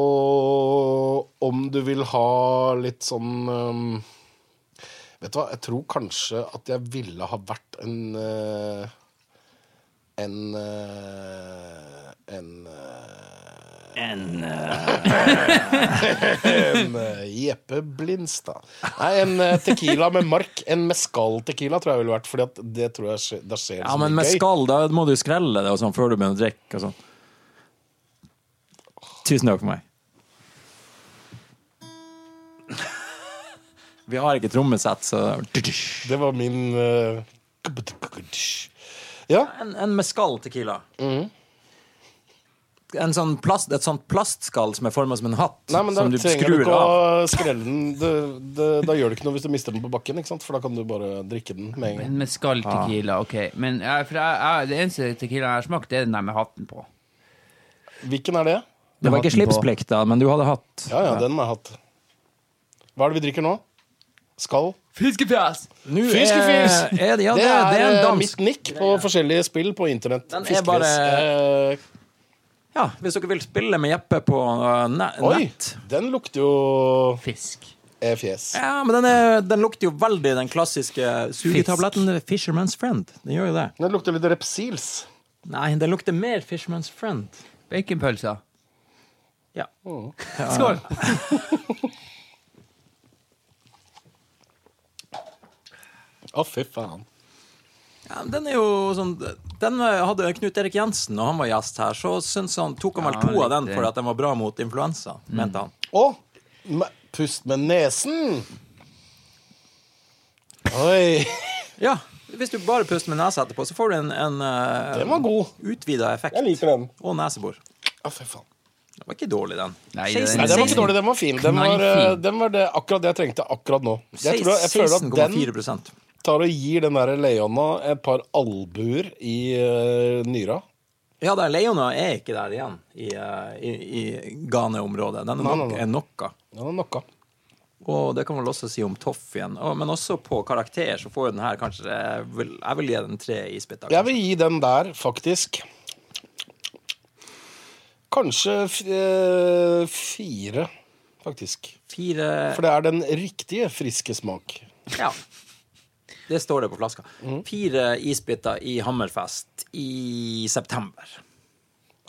Speaker 1: om du vil ha litt sånn um, Vet du hva, jeg tror kanskje at jeg ville ha vært en eh, En eh, En eh,
Speaker 3: En,
Speaker 1: En eh, Jeppe Blindstad. Nei, en eh, tequila med mark. En mescal-tequila tror jeg ville vært, Fordi at det tror jeg skje- da skjer det
Speaker 3: Ja,
Speaker 1: så
Speaker 3: men
Speaker 1: mye
Speaker 3: med
Speaker 1: gøy.
Speaker 3: skall, da må du skrelle det og sånn før du begynner å drikke og sånn. Tusen takk for meg. Vi har ikke trommesett, så
Speaker 1: Det var min eh, Ja.
Speaker 3: En, en mescal tequila.
Speaker 1: Mm.
Speaker 3: En sånn plast, et sånt plastskall som er forma som en hatt,
Speaker 1: Nei, men da
Speaker 3: som du
Speaker 1: trenger du
Speaker 3: skrur
Speaker 1: ikke
Speaker 3: av.
Speaker 1: å skrelle den. Det, det, da gjør det ikke noe hvis du mister den på bakken, ikke sant? for da kan du bare drikke den med en gang.
Speaker 2: En mescal tequila, ok. Men eh, for jeg, jeg, det eneste tequilaen jeg har smakt, det er den der med hatten på.
Speaker 1: Hvilken er det?
Speaker 3: Det var
Speaker 2: Hatten på.
Speaker 3: ikke slipsplikt, da, men du hadde hatt.
Speaker 1: Ja, ja, den har jeg hatt. Hva er det vi drikker nå? Skal?
Speaker 2: Fiskefjes!
Speaker 3: Nå er-
Speaker 1: Fiskefis!
Speaker 3: er det- Ja,
Speaker 1: det,
Speaker 3: det, det er en
Speaker 1: eh,
Speaker 3: dansk
Speaker 1: mitt nikk på forskjellige spill på internett.
Speaker 3: Den er
Speaker 1: Fiskefis.
Speaker 3: bare-
Speaker 1: Eh,
Speaker 3: Ja, hvis dere vil spille med Jeppe på uh, ne
Speaker 1: Oi!
Speaker 3: nett
Speaker 1: Den lukter jo
Speaker 2: Fisk.
Speaker 1: eh, fjes.
Speaker 3: Ja, men den, er, den lukter jo veldig den klassiske sugetabletten eh, Fisherman's Friend. Den gjør jo det.
Speaker 1: Den lukter litt Repsils.
Speaker 3: Nei, den lukter mer Fisherman's Friend.
Speaker 2: Baconpølser.
Speaker 3: Ja.
Speaker 2: Skål!
Speaker 1: Å, fy faen.
Speaker 3: Ja, men den er jo sånn Den hadde Knut Erik Jensen, og han var gjest her, så syns han tok han vel
Speaker 2: Ja, Mm.
Speaker 3: to av den
Speaker 2: litt-
Speaker 3: fordi at den var bra mot influensa, mente han.
Speaker 1: Å! me- Pust med nesen! Oi!
Speaker 3: Ja, hvis du bare puster med nesa etterpå, så får du en, en
Speaker 1: Den var god.
Speaker 3: utvida effekt.
Speaker 1: Jeg liker den.
Speaker 3: Og nesebor.
Speaker 1: Å, fy faen.
Speaker 3: Den var ikke dårlig, den.
Speaker 2: Nei,
Speaker 3: Seksten-
Speaker 1: Nei, den var ikke dårlig, den var fin. Den var,
Speaker 2: Knallfin.
Speaker 1: eh, den var det, akkurat det jeg trengte akkurat nå. Jeg, tror, jeg føler at den
Speaker 3: 16,4
Speaker 1: tar og gir den der Leona et par albuer i eh, nyra.
Speaker 3: Ja, da, Leona er ikke der igjen i, eh, i, i Ghana-området. Den er,
Speaker 1: Nei,
Speaker 3: nok,
Speaker 1: nei, nei.
Speaker 3: er nokka.
Speaker 1: Den er knocka.
Speaker 3: Og det kan man vel også si om Toff igjen. Og, men også på karakter så får jo den her kanskje Jeg vil, jeg vil gi den tre isbiter.
Speaker 1: Jeg vil gi den der, faktisk. Kanskje f- eh, fire, faktisk.
Speaker 3: Fire
Speaker 1: For det er den riktige friske smak.
Speaker 3: Ja. Det står det på flaska. Fire isbiter i Hammerfest i september.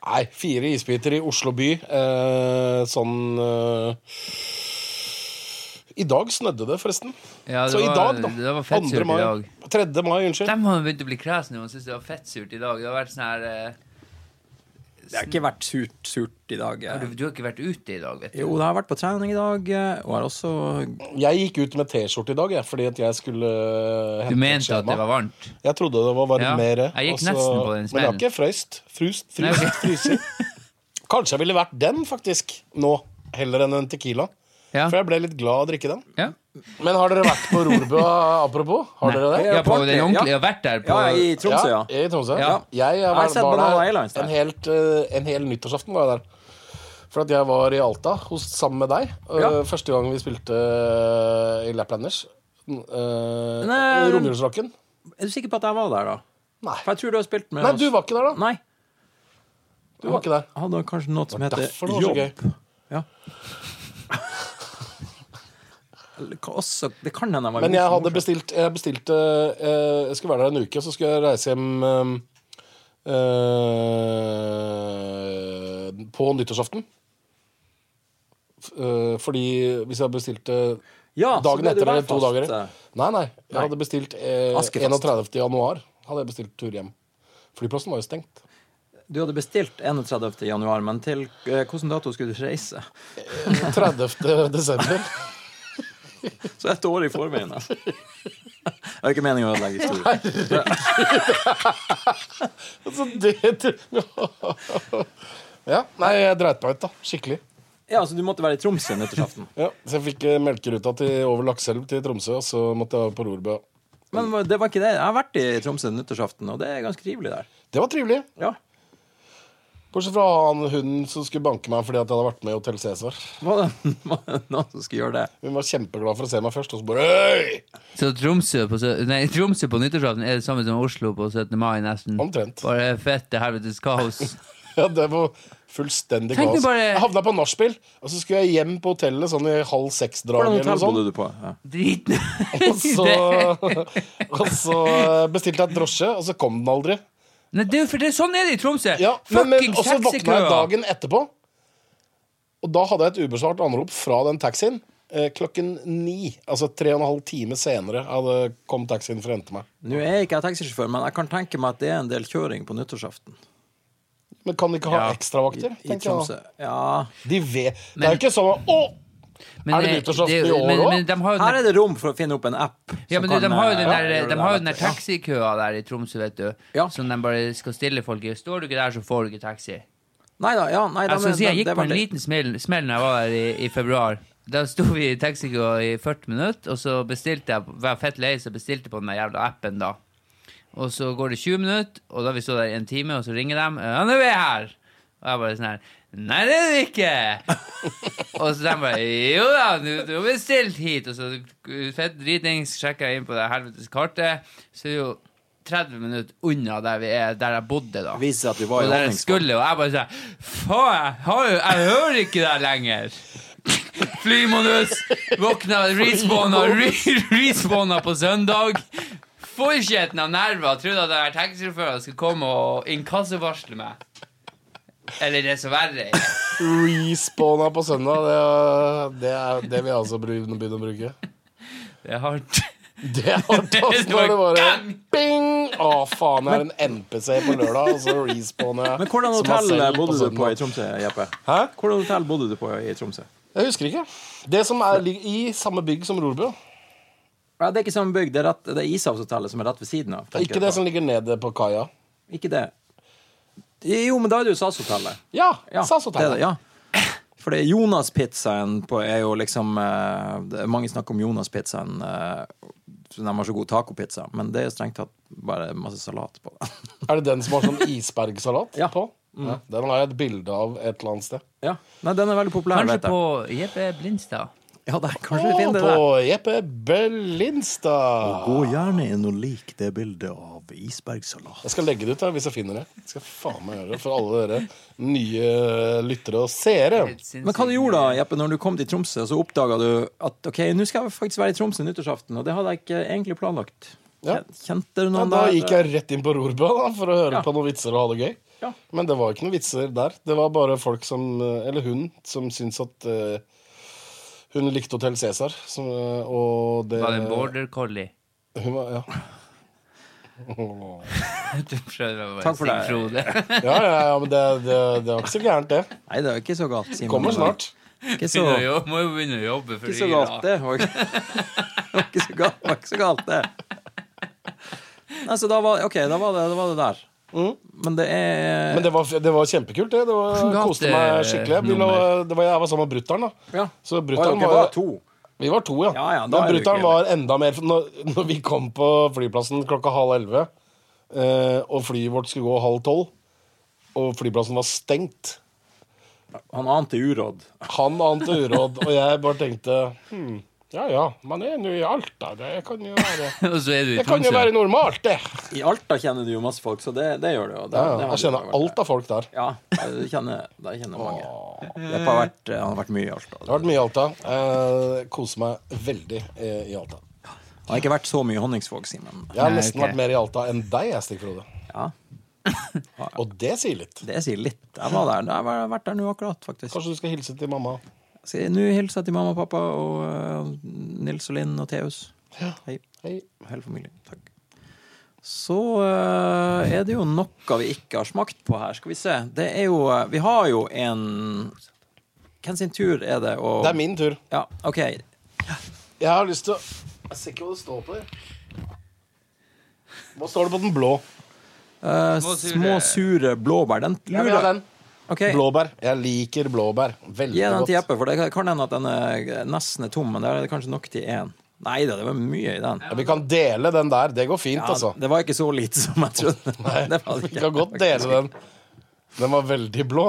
Speaker 1: Nei, fire isbiter i Oslo by. Eh, sånn eh. I dag snødde det, forresten.
Speaker 2: Ja, det
Speaker 1: Så i
Speaker 2: var-
Speaker 1: dag, da.
Speaker 2: det var fett
Speaker 1: 2.
Speaker 2: surt i
Speaker 1: mai.
Speaker 2: dag.
Speaker 1: 3. mai, unnskyld.
Speaker 2: De har begynt å bli kresne og syns det var fettsurt i dag. Det har vært sånn her eh,
Speaker 3: Det har ikke vært surt, surt i dag.
Speaker 2: du, du har ikke vært ute i dag, vet du.
Speaker 3: Jo, det har vært på trening i dag, og har også
Speaker 1: Jeg gikk ut med T-skjorte i dag, jeg, fordi at jeg skulle eh, hente
Speaker 2: Du mente
Speaker 1: et
Speaker 2: at det var varmt?
Speaker 1: Jeg trodde det var varmere.
Speaker 2: Ja, jeg
Speaker 1: og
Speaker 2: gikk
Speaker 1: så-
Speaker 2: nesten på
Speaker 1: Men jeg
Speaker 2: den
Speaker 1: har
Speaker 2: smellen.
Speaker 1: ikke frøst. Frust,
Speaker 2: Nei,
Speaker 1: frust, fryser. Kanskje jeg ville vært den, faktisk, nå, heller enn en Tequila.
Speaker 2: Ja.
Speaker 1: For jeg ble litt glad av å drikke den.
Speaker 2: ja.
Speaker 1: Men har dere vært på Rorbua, apropos? Har dere det?
Speaker 2: Ja, på
Speaker 3: Party,
Speaker 2: den ordentlige.
Speaker 3: ja.
Speaker 2: Jeg har vært der på
Speaker 3: Ja, i Tromsø, ja.
Speaker 1: I Tromsø.
Speaker 3: Ja.
Speaker 1: Jeg,
Speaker 3: Jeg har
Speaker 1: var,
Speaker 3: sett
Speaker 1: var
Speaker 3: Banana
Speaker 1: der
Speaker 3: Airlines der.
Speaker 1: en, helt, eh, en hel nyttårsaften var jeg der. For at jeg var i Alta hos, sammen med deg. eh,
Speaker 3: Ja.
Speaker 1: Første gang vi spilte eh, i Laplanders. Uh,
Speaker 3: Nei.
Speaker 1: Romjulsrocken.
Speaker 3: Er du sikker på at jeg var der, da?
Speaker 1: Nei.
Speaker 3: For jeg tror du har spilt med
Speaker 1: Nei,
Speaker 3: oss.
Speaker 1: du var ikke der, da.
Speaker 3: Nei.
Speaker 1: Du var ikke der.
Speaker 3: Han hadde kanskje noe som
Speaker 1: Det var
Speaker 3: heter
Speaker 1: derfor det var så
Speaker 3: jobb. Ja. Eller kan Også, det kan hende han var
Speaker 1: Men jeg hadde
Speaker 3: morsom.
Speaker 1: bestilt Jeg bestilte eh, Jeg skulle være der en uke, så skulle jeg reise hjem eh, eh, På nyttårsaften. F- eh, fordi hvis jeg bestilte
Speaker 3: Ja, så
Speaker 1: dagen
Speaker 3: ble du
Speaker 1: etter eller
Speaker 3: værfast,
Speaker 1: to dager
Speaker 3: eh.
Speaker 1: Nei, nei. Jeg hadde bestilt eh,
Speaker 3: Askefast.
Speaker 1: 31. januar. Hadde jeg bestilt tur hjem. Flyplassen var jo stengt.
Speaker 3: Du hadde bestilt 31. januar, men til eh, hvilken dato skulle du reise?
Speaker 1: 30. desember.
Speaker 3: Så et år i forveien. da. var ikke meningen å ødelegge historien.
Speaker 1: Altså, det Ja. Nei, jeg dreit meg ut, da. Skikkelig.
Speaker 3: Ja, altså, du måtte være i Tromsø nyttårsaften.
Speaker 1: Ja, så jeg fikk eh, melkeruta til over Lakselv til Tromsø, og så måtte jeg over på Rorbø.
Speaker 3: Men det var ikke det. Jeg har vært i Tromsø nyttårsaften, og det er ganske trivelig der.
Speaker 1: Det var trivelig.
Speaker 3: Ja.
Speaker 1: Bortsett fra han hunden som skulle banke meg fordi at jeg hadde vært med i Hotell Cæsar.
Speaker 3: Var det, var det noen som skulle gjøre det?
Speaker 1: Hun var kjempeglad for å se meg først, og så bare Øy!
Speaker 2: Så Tromsø på, sø- nei, Tromsø på nyttårsaften er det samme som Oslo på 17. mai, nesten.
Speaker 1: Omtrent.
Speaker 2: Bare fette helvetes kaos.
Speaker 1: Ja, det var fullstendig
Speaker 2: Tenk
Speaker 1: kaos.
Speaker 2: deg bare-
Speaker 1: Jeg havna på nachspiel, og så skulle jeg hjem på hotellet sånn i halv seks-draget
Speaker 3: Hvordan
Speaker 1: eller noe
Speaker 3: hotell
Speaker 1: sånt.
Speaker 3: bodde du
Speaker 2: Drit
Speaker 3: på? Ja.
Speaker 1: Og så, og så bestilte jeg et drosje, og så kom den aldri.
Speaker 2: Nei, det, er jo for det, sånn er det i Tromsø!
Speaker 1: Ja, men, men,
Speaker 2: Fucking
Speaker 1: og så våkna jeg
Speaker 2: taxikøer!
Speaker 1: dagen etterpå, og da hadde jeg et ubesvart anrop fra den taxien. Eh, klokken ni, altså tre og en halv time senere, hadde kom taxien for å hente meg.
Speaker 3: Nå er jeg ikke jeg taxisjåfør, men jeg kan tenke meg at det er en del kjøring på nyttårsaften
Speaker 1: Men kan de ikke ha
Speaker 2: Ja,
Speaker 1: ekstravakter?
Speaker 3: i
Speaker 1: tenker jeg da.
Speaker 3: Tromsø. Ja.
Speaker 1: De vet. det er jo ikke sånn at Å!
Speaker 2: Men,
Speaker 1: Er det
Speaker 2: eh,
Speaker 1: nyttårsaften
Speaker 2: det er jo-
Speaker 1: i år
Speaker 2: men-
Speaker 1: også?
Speaker 2: men de har jo den
Speaker 3: Her
Speaker 2: der-
Speaker 3: er det rom for å finne opp en app.
Speaker 2: Ja,
Speaker 3: som
Speaker 2: men du, de
Speaker 3: kan,
Speaker 2: har jo
Speaker 3: eh,
Speaker 2: den der,
Speaker 3: ja,
Speaker 2: de har jo den der
Speaker 3: lettere.
Speaker 2: taxikøa der i Tromsø, vet du.
Speaker 3: Ja.
Speaker 2: Som de bare skal stille folk i. Står du ikke der, så får du ikke taxi.
Speaker 3: Nei da, ja, nei,
Speaker 2: Jeg
Speaker 3: da,
Speaker 2: skal
Speaker 3: men
Speaker 2: si, jeg
Speaker 3: det-
Speaker 2: gikk
Speaker 3: det
Speaker 2: på
Speaker 3: var
Speaker 2: en
Speaker 3: litt-
Speaker 2: liten smell, smell når jeg var der i, i februar. Da sto vi i taxikøa i 40 minutter, og så bestilte jeg var jeg fett lei, så bestilte jeg på den der jævla appen da. Og så går det 20 minutter, og da har vi stått der i en time, og så ringer de. Ja, nå er vi her! Og jeg bare sånn her Nei, det er vi ikke! og så de bare Jo da, du, du har bestilt hit! Og så fett dritings sjekka jeg inn på det helvetes kartet, så er vi jo 30 minutter unna der vi er, der jeg bodde, da.
Speaker 3: Viser seg at vi var i
Speaker 2: Og der jeg
Speaker 3: Honningsvåg.
Speaker 2: skulle, og jeg bare sa Faen, jeg, har jo- jeg hører ikke deg lenger! Flymonus! Våkna, respawna, re, respawna på søndag. Forkjeten av nerver. Trodde at jeg var taxisjåfør og skulle komme og inkassovarsle meg. Eller det som verre er.
Speaker 1: Respawna på søndag, det, er- det, er, det vil jeg altså begynne begynne å bruke.
Speaker 2: Det er hardt.
Speaker 1: Det er hardt, ass, når det bare Bing! Å, faen, jeg er en NPC på lørdag, og så respawner jeg.
Speaker 3: Men hvordan
Speaker 1: som meg
Speaker 3: hotell eh,
Speaker 1: selv
Speaker 3: bodde du på i
Speaker 1: søndag.
Speaker 3: Tromsø, Jeppe?
Speaker 1: Hæ?
Speaker 3: Hvordan hotell bodde du på i Tromsø?
Speaker 1: Jeg husker ikke. Det som er, ligger i samme bygg som Rorbø.
Speaker 3: Ja, det er ikke samme bygg, det er, rett, det er Ishavshotellet som er rett ved siden av. tenker
Speaker 1: Ikke
Speaker 3: jeg
Speaker 1: det
Speaker 3: på.
Speaker 1: som ligger nede på kaia.
Speaker 3: Ikke det. Jo, men da er det jo SAS-hotellet.
Speaker 1: Ja,
Speaker 3: Ja, det er det,
Speaker 1: SAS-hotellet.
Speaker 3: ja. For det er Jonas-pizzaen på er jo liksom eh, det er Mange snakker om Jonas-pizzaen. eh, så De har så god tacopizza, men det er strengt tatt bare masse salat på den.
Speaker 1: Er det den som har sånn isbergsalat
Speaker 3: Ja. Mm.
Speaker 1: på? Ja, den har jeg et bilde av et eller annet sted.
Speaker 3: Ja. Nei, den er veldig populær,
Speaker 2: Kanskje
Speaker 3: vet jeg.
Speaker 2: på Jeppe Blindstad.
Speaker 3: Ja, der, kanskje vi
Speaker 1: Å,
Speaker 3: finner det
Speaker 1: på
Speaker 3: der.
Speaker 1: Jeppe Bellinstad.
Speaker 3: Gå gjerne inn og lik det bildet av isbergsalat.
Speaker 1: Jeg skal legge det ut da, hvis jeg finner det. Jeg skal faen meg gjøre det For alle dere nye lyttere og seere.
Speaker 3: Men hva du gjorde da, Jeppe, når du kom til Tromsø, så oppdaga du at ok, nå skal jeg faktisk være i Tromsø nyttårsaften, og det hadde jeg ikke egentlig planlagt.
Speaker 1: Ja.
Speaker 3: Kjente du
Speaker 1: Ja,
Speaker 3: noen
Speaker 1: da
Speaker 3: der?
Speaker 1: gikk jeg rett inn på Rorbø da, for å høre
Speaker 3: Ja.
Speaker 1: på noen vitser og ha det gøy.
Speaker 3: Ja.
Speaker 1: Men det var ikke noen vitser der. Det var bare folk som eh, Eller hun som syntes at eh, hun likte Hotell Cæsar. som, eh, Og det
Speaker 2: Var det en border collie?
Speaker 1: Hun var, ja.
Speaker 2: Du prøvde å være
Speaker 3: Takk for
Speaker 2: Stig
Speaker 3: det.
Speaker 2: Frode.
Speaker 1: Ja, ja, ja, men det, det, det var ikke så gærent, det.
Speaker 3: Nei, det er ikke så galt. Simon.
Speaker 1: Kommer snart.
Speaker 3: Ikke så,
Speaker 2: Begynner å jobbe- Må jo begynne å jobbe for
Speaker 3: ikke så
Speaker 2: dyra.
Speaker 3: galt, det. var ikke- Det var ikke så galt, det var ikke så galt, det. Nei, så da var, ok, da var, det, da var det der. Men det er
Speaker 1: Mm. Men det var, det var kjempekult, det. det var,
Speaker 2: Gate-
Speaker 1: koste meg skikkelig. Vi lå, det var, jeg var sammen med brutter'n, da.
Speaker 3: Ja.
Speaker 1: Så
Speaker 3: Oi,
Speaker 1: brutter'n
Speaker 3: ok,
Speaker 1: var,
Speaker 3: var to.
Speaker 1: Vi var to, ja.
Speaker 3: Ja, ja,
Speaker 1: Men
Speaker 3: da er det jo
Speaker 1: brutter'n
Speaker 3: ikke-
Speaker 1: var enda mer når, når vi kom på flyplassen klokka halv elleve, eh, og flyet vårt skulle gå halv tolv, og flyplassen var stengt
Speaker 3: Han ante uråd.
Speaker 1: Han ante uråd, og jeg bare tenkte hmm, Ja ja, man er nå i Alta. Det kan jo være,
Speaker 2: Og så er du i
Speaker 1: det kan jo
Speaker 2: Tromsø.
Speaker 1: være normalt, det.
Speaker 3: I Alta kjenner du jo masse folk, så det, det gjør du jo. Det-
Speaker 1: Ja,
Speaker 3: det
Speaker 1: ja, jeg
Speaker 3: har du jo
Speaker 1: kjenner
Speaker 3: vært
Speaker 1: alt av folk der.
Speaker 3: Ja, jeg kjenner, jeg kjenner mange. Jeppe har vært, eh, han har vært mye i Alta.
Speaker 1: Det har vært mye i Alta. Eh, koser meg veldig eh, i Alta.
Speaker 3: Han har ikke vært så mye i Honningsvåg, Simen.
Speaker 1: Jeg har
Speaker 2: Nei,
Speaker 1: nesten
Speaker 2: ok.
Speaker 1: vært mer i Alta enn deg, jeg, Stig Frode.
Speaker 3: Ja,
Speaker 1: Og det sier litt.
Speaker 3: det sier litt. Jeg var der, jeg har vært der nå akkurat, faktisk.
Speaker 1: Kanskje du skal hilse til mamma.
Speaker 3: Så jeg- Nå hilser jeg til mamma og pappa og eh, Nils og Linn og Theus. Hei.
Speaker 1: Hei.
Speaker 3: og Hele familien. Takk. Så eh, er det jo noe vi ikke har smakt på her. Skal vi se. Det er jo eh, Vi har jo en Hvem sin tur er det å
Speaker 1: Det er min tur.
Speaker 3: Ja, OK.
Speaker 1: Jeg har lyst til å Jeg ser ikke hva det står på der. Hva står det på den blå?
Speaker 3: Eh,
Speaker 2: Små sure-
Speaker 3: små, sure blåbær. Den
Speaker 1: Jeg vil ha
Speaker 3: lurer
Speaker 1: den.
Speaker 3: Ok,
Speaker 1: Blåbær. Jeg liker blåbær. Veldig
Speaker 3: Gi den til
Speaker 1: godt.
Speaker 3: Jeppe, for det kan hende at den er nesten er tom, men det er kanskje nok til én. Nei da, det var mye i den.
Speaker 1: Ja, vi kan dele den der. Det går fint,
Speaker 3: Ja,
Speaker 1: altså.
Speaker 3: Det var ikke så lite som jeg trodde. Det var det
Speaker 1: Vi
Speaker 3: ikke.
Speaker 1: kan godt dele den. Den var veldig blå.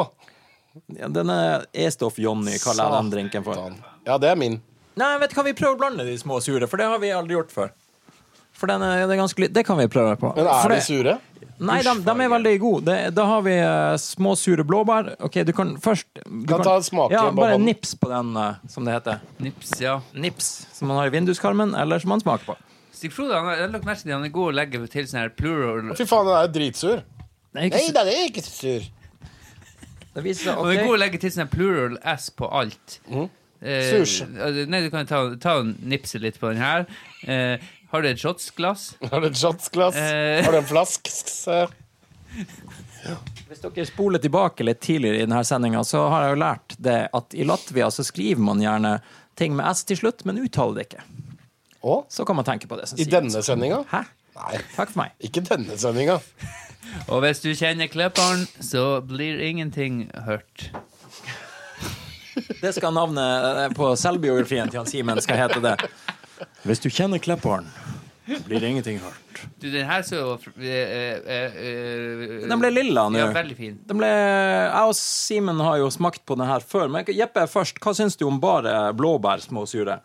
Speaker 3: Ja, Denne E-stoff-Johnny kaller jeg den drinken for.
Speaker 1: Satan. Ja, det er min.
Speaker 3: Nei, vet du hva, vi prøver å blande de små sure, for det har vi aldri gjort før. For den er, det er ganske litt Det kan vi prøve på.
Speaker 1: Men
Speaker 3: For
Speaker 1: er de
Speaker 3: det-
Speaker 1: sure?
Speaker 3: Nei, de, de er veldig gode. Det, da har vi eh, små sure blåbær. Ok, du kan først du
Speaker 1: Kan ta en smak,
Speaker 3: Ja,
Speaker 1: Bob.
Speaker 3: bare nips på den, eh, som det heter.
Speaker 2: Nips, ja.
Speaker 3: Nips, som man har i vinduskarmen, eller som man smaker på.
Speaker 2: Stig Frode han, er- jeg har lagt merke til at han er god å legge til sånn her plural
Speaker 1: Fy faen, den er jo dritsur.
Speaker 3: Det, er ikke,
Speaker 1: Nei da, det er ikke sur.
Speaker 3: så- det viser seg
Speaker 2: Han er god
Speaker 3: ok.
Speaker 2: å legge til sånn her plural S på alt. Eh,
Speaker 1: Mm. Sushi.
Speaker 2: nei, du kan ta, ta og nipse litt på den her. Eh, har du et shotsglass?
Speaker 1: Har du et shotsglass?
Speaker 2: Eh.
Speaker 1: Har du en flask? Se.
Speaker 3: Hvis dere spoler tilbake litt tidligere i denne sendinga, så har jeg jo lært det at i Latvia så skriver man gjerne ting med S til slutt, men uttaler det ikke.
Speaker 1: Å?
Speaker 3: Så kan man tenke på det som
Speaker 1: I denne sendinga?
Speaker 3: Hæ?
Speaker 1: Nei,
Speaker 3: Takk for meg.
Speaker 1: ikke denne sendinga.
Speaker 2: Og hvis du kjenner klipperen, så blir ingenting hørt.
Speaker 3: Det skal navnet eh, på selvbiografien til han Simen skal hete det. Hvis du kjenner Klepperen, blir det ingenting hørt.
Speaker 2: Du, den her så eh, eh, eh,
Speaker 3: Den ble lilla nå.
Speaker 2: Ja, veldig fin.
Speaker 3: Den ble, jeg og Simen har jo smakt på den her før, men Jeppe først. Hva syns du om bare blåbær små sure?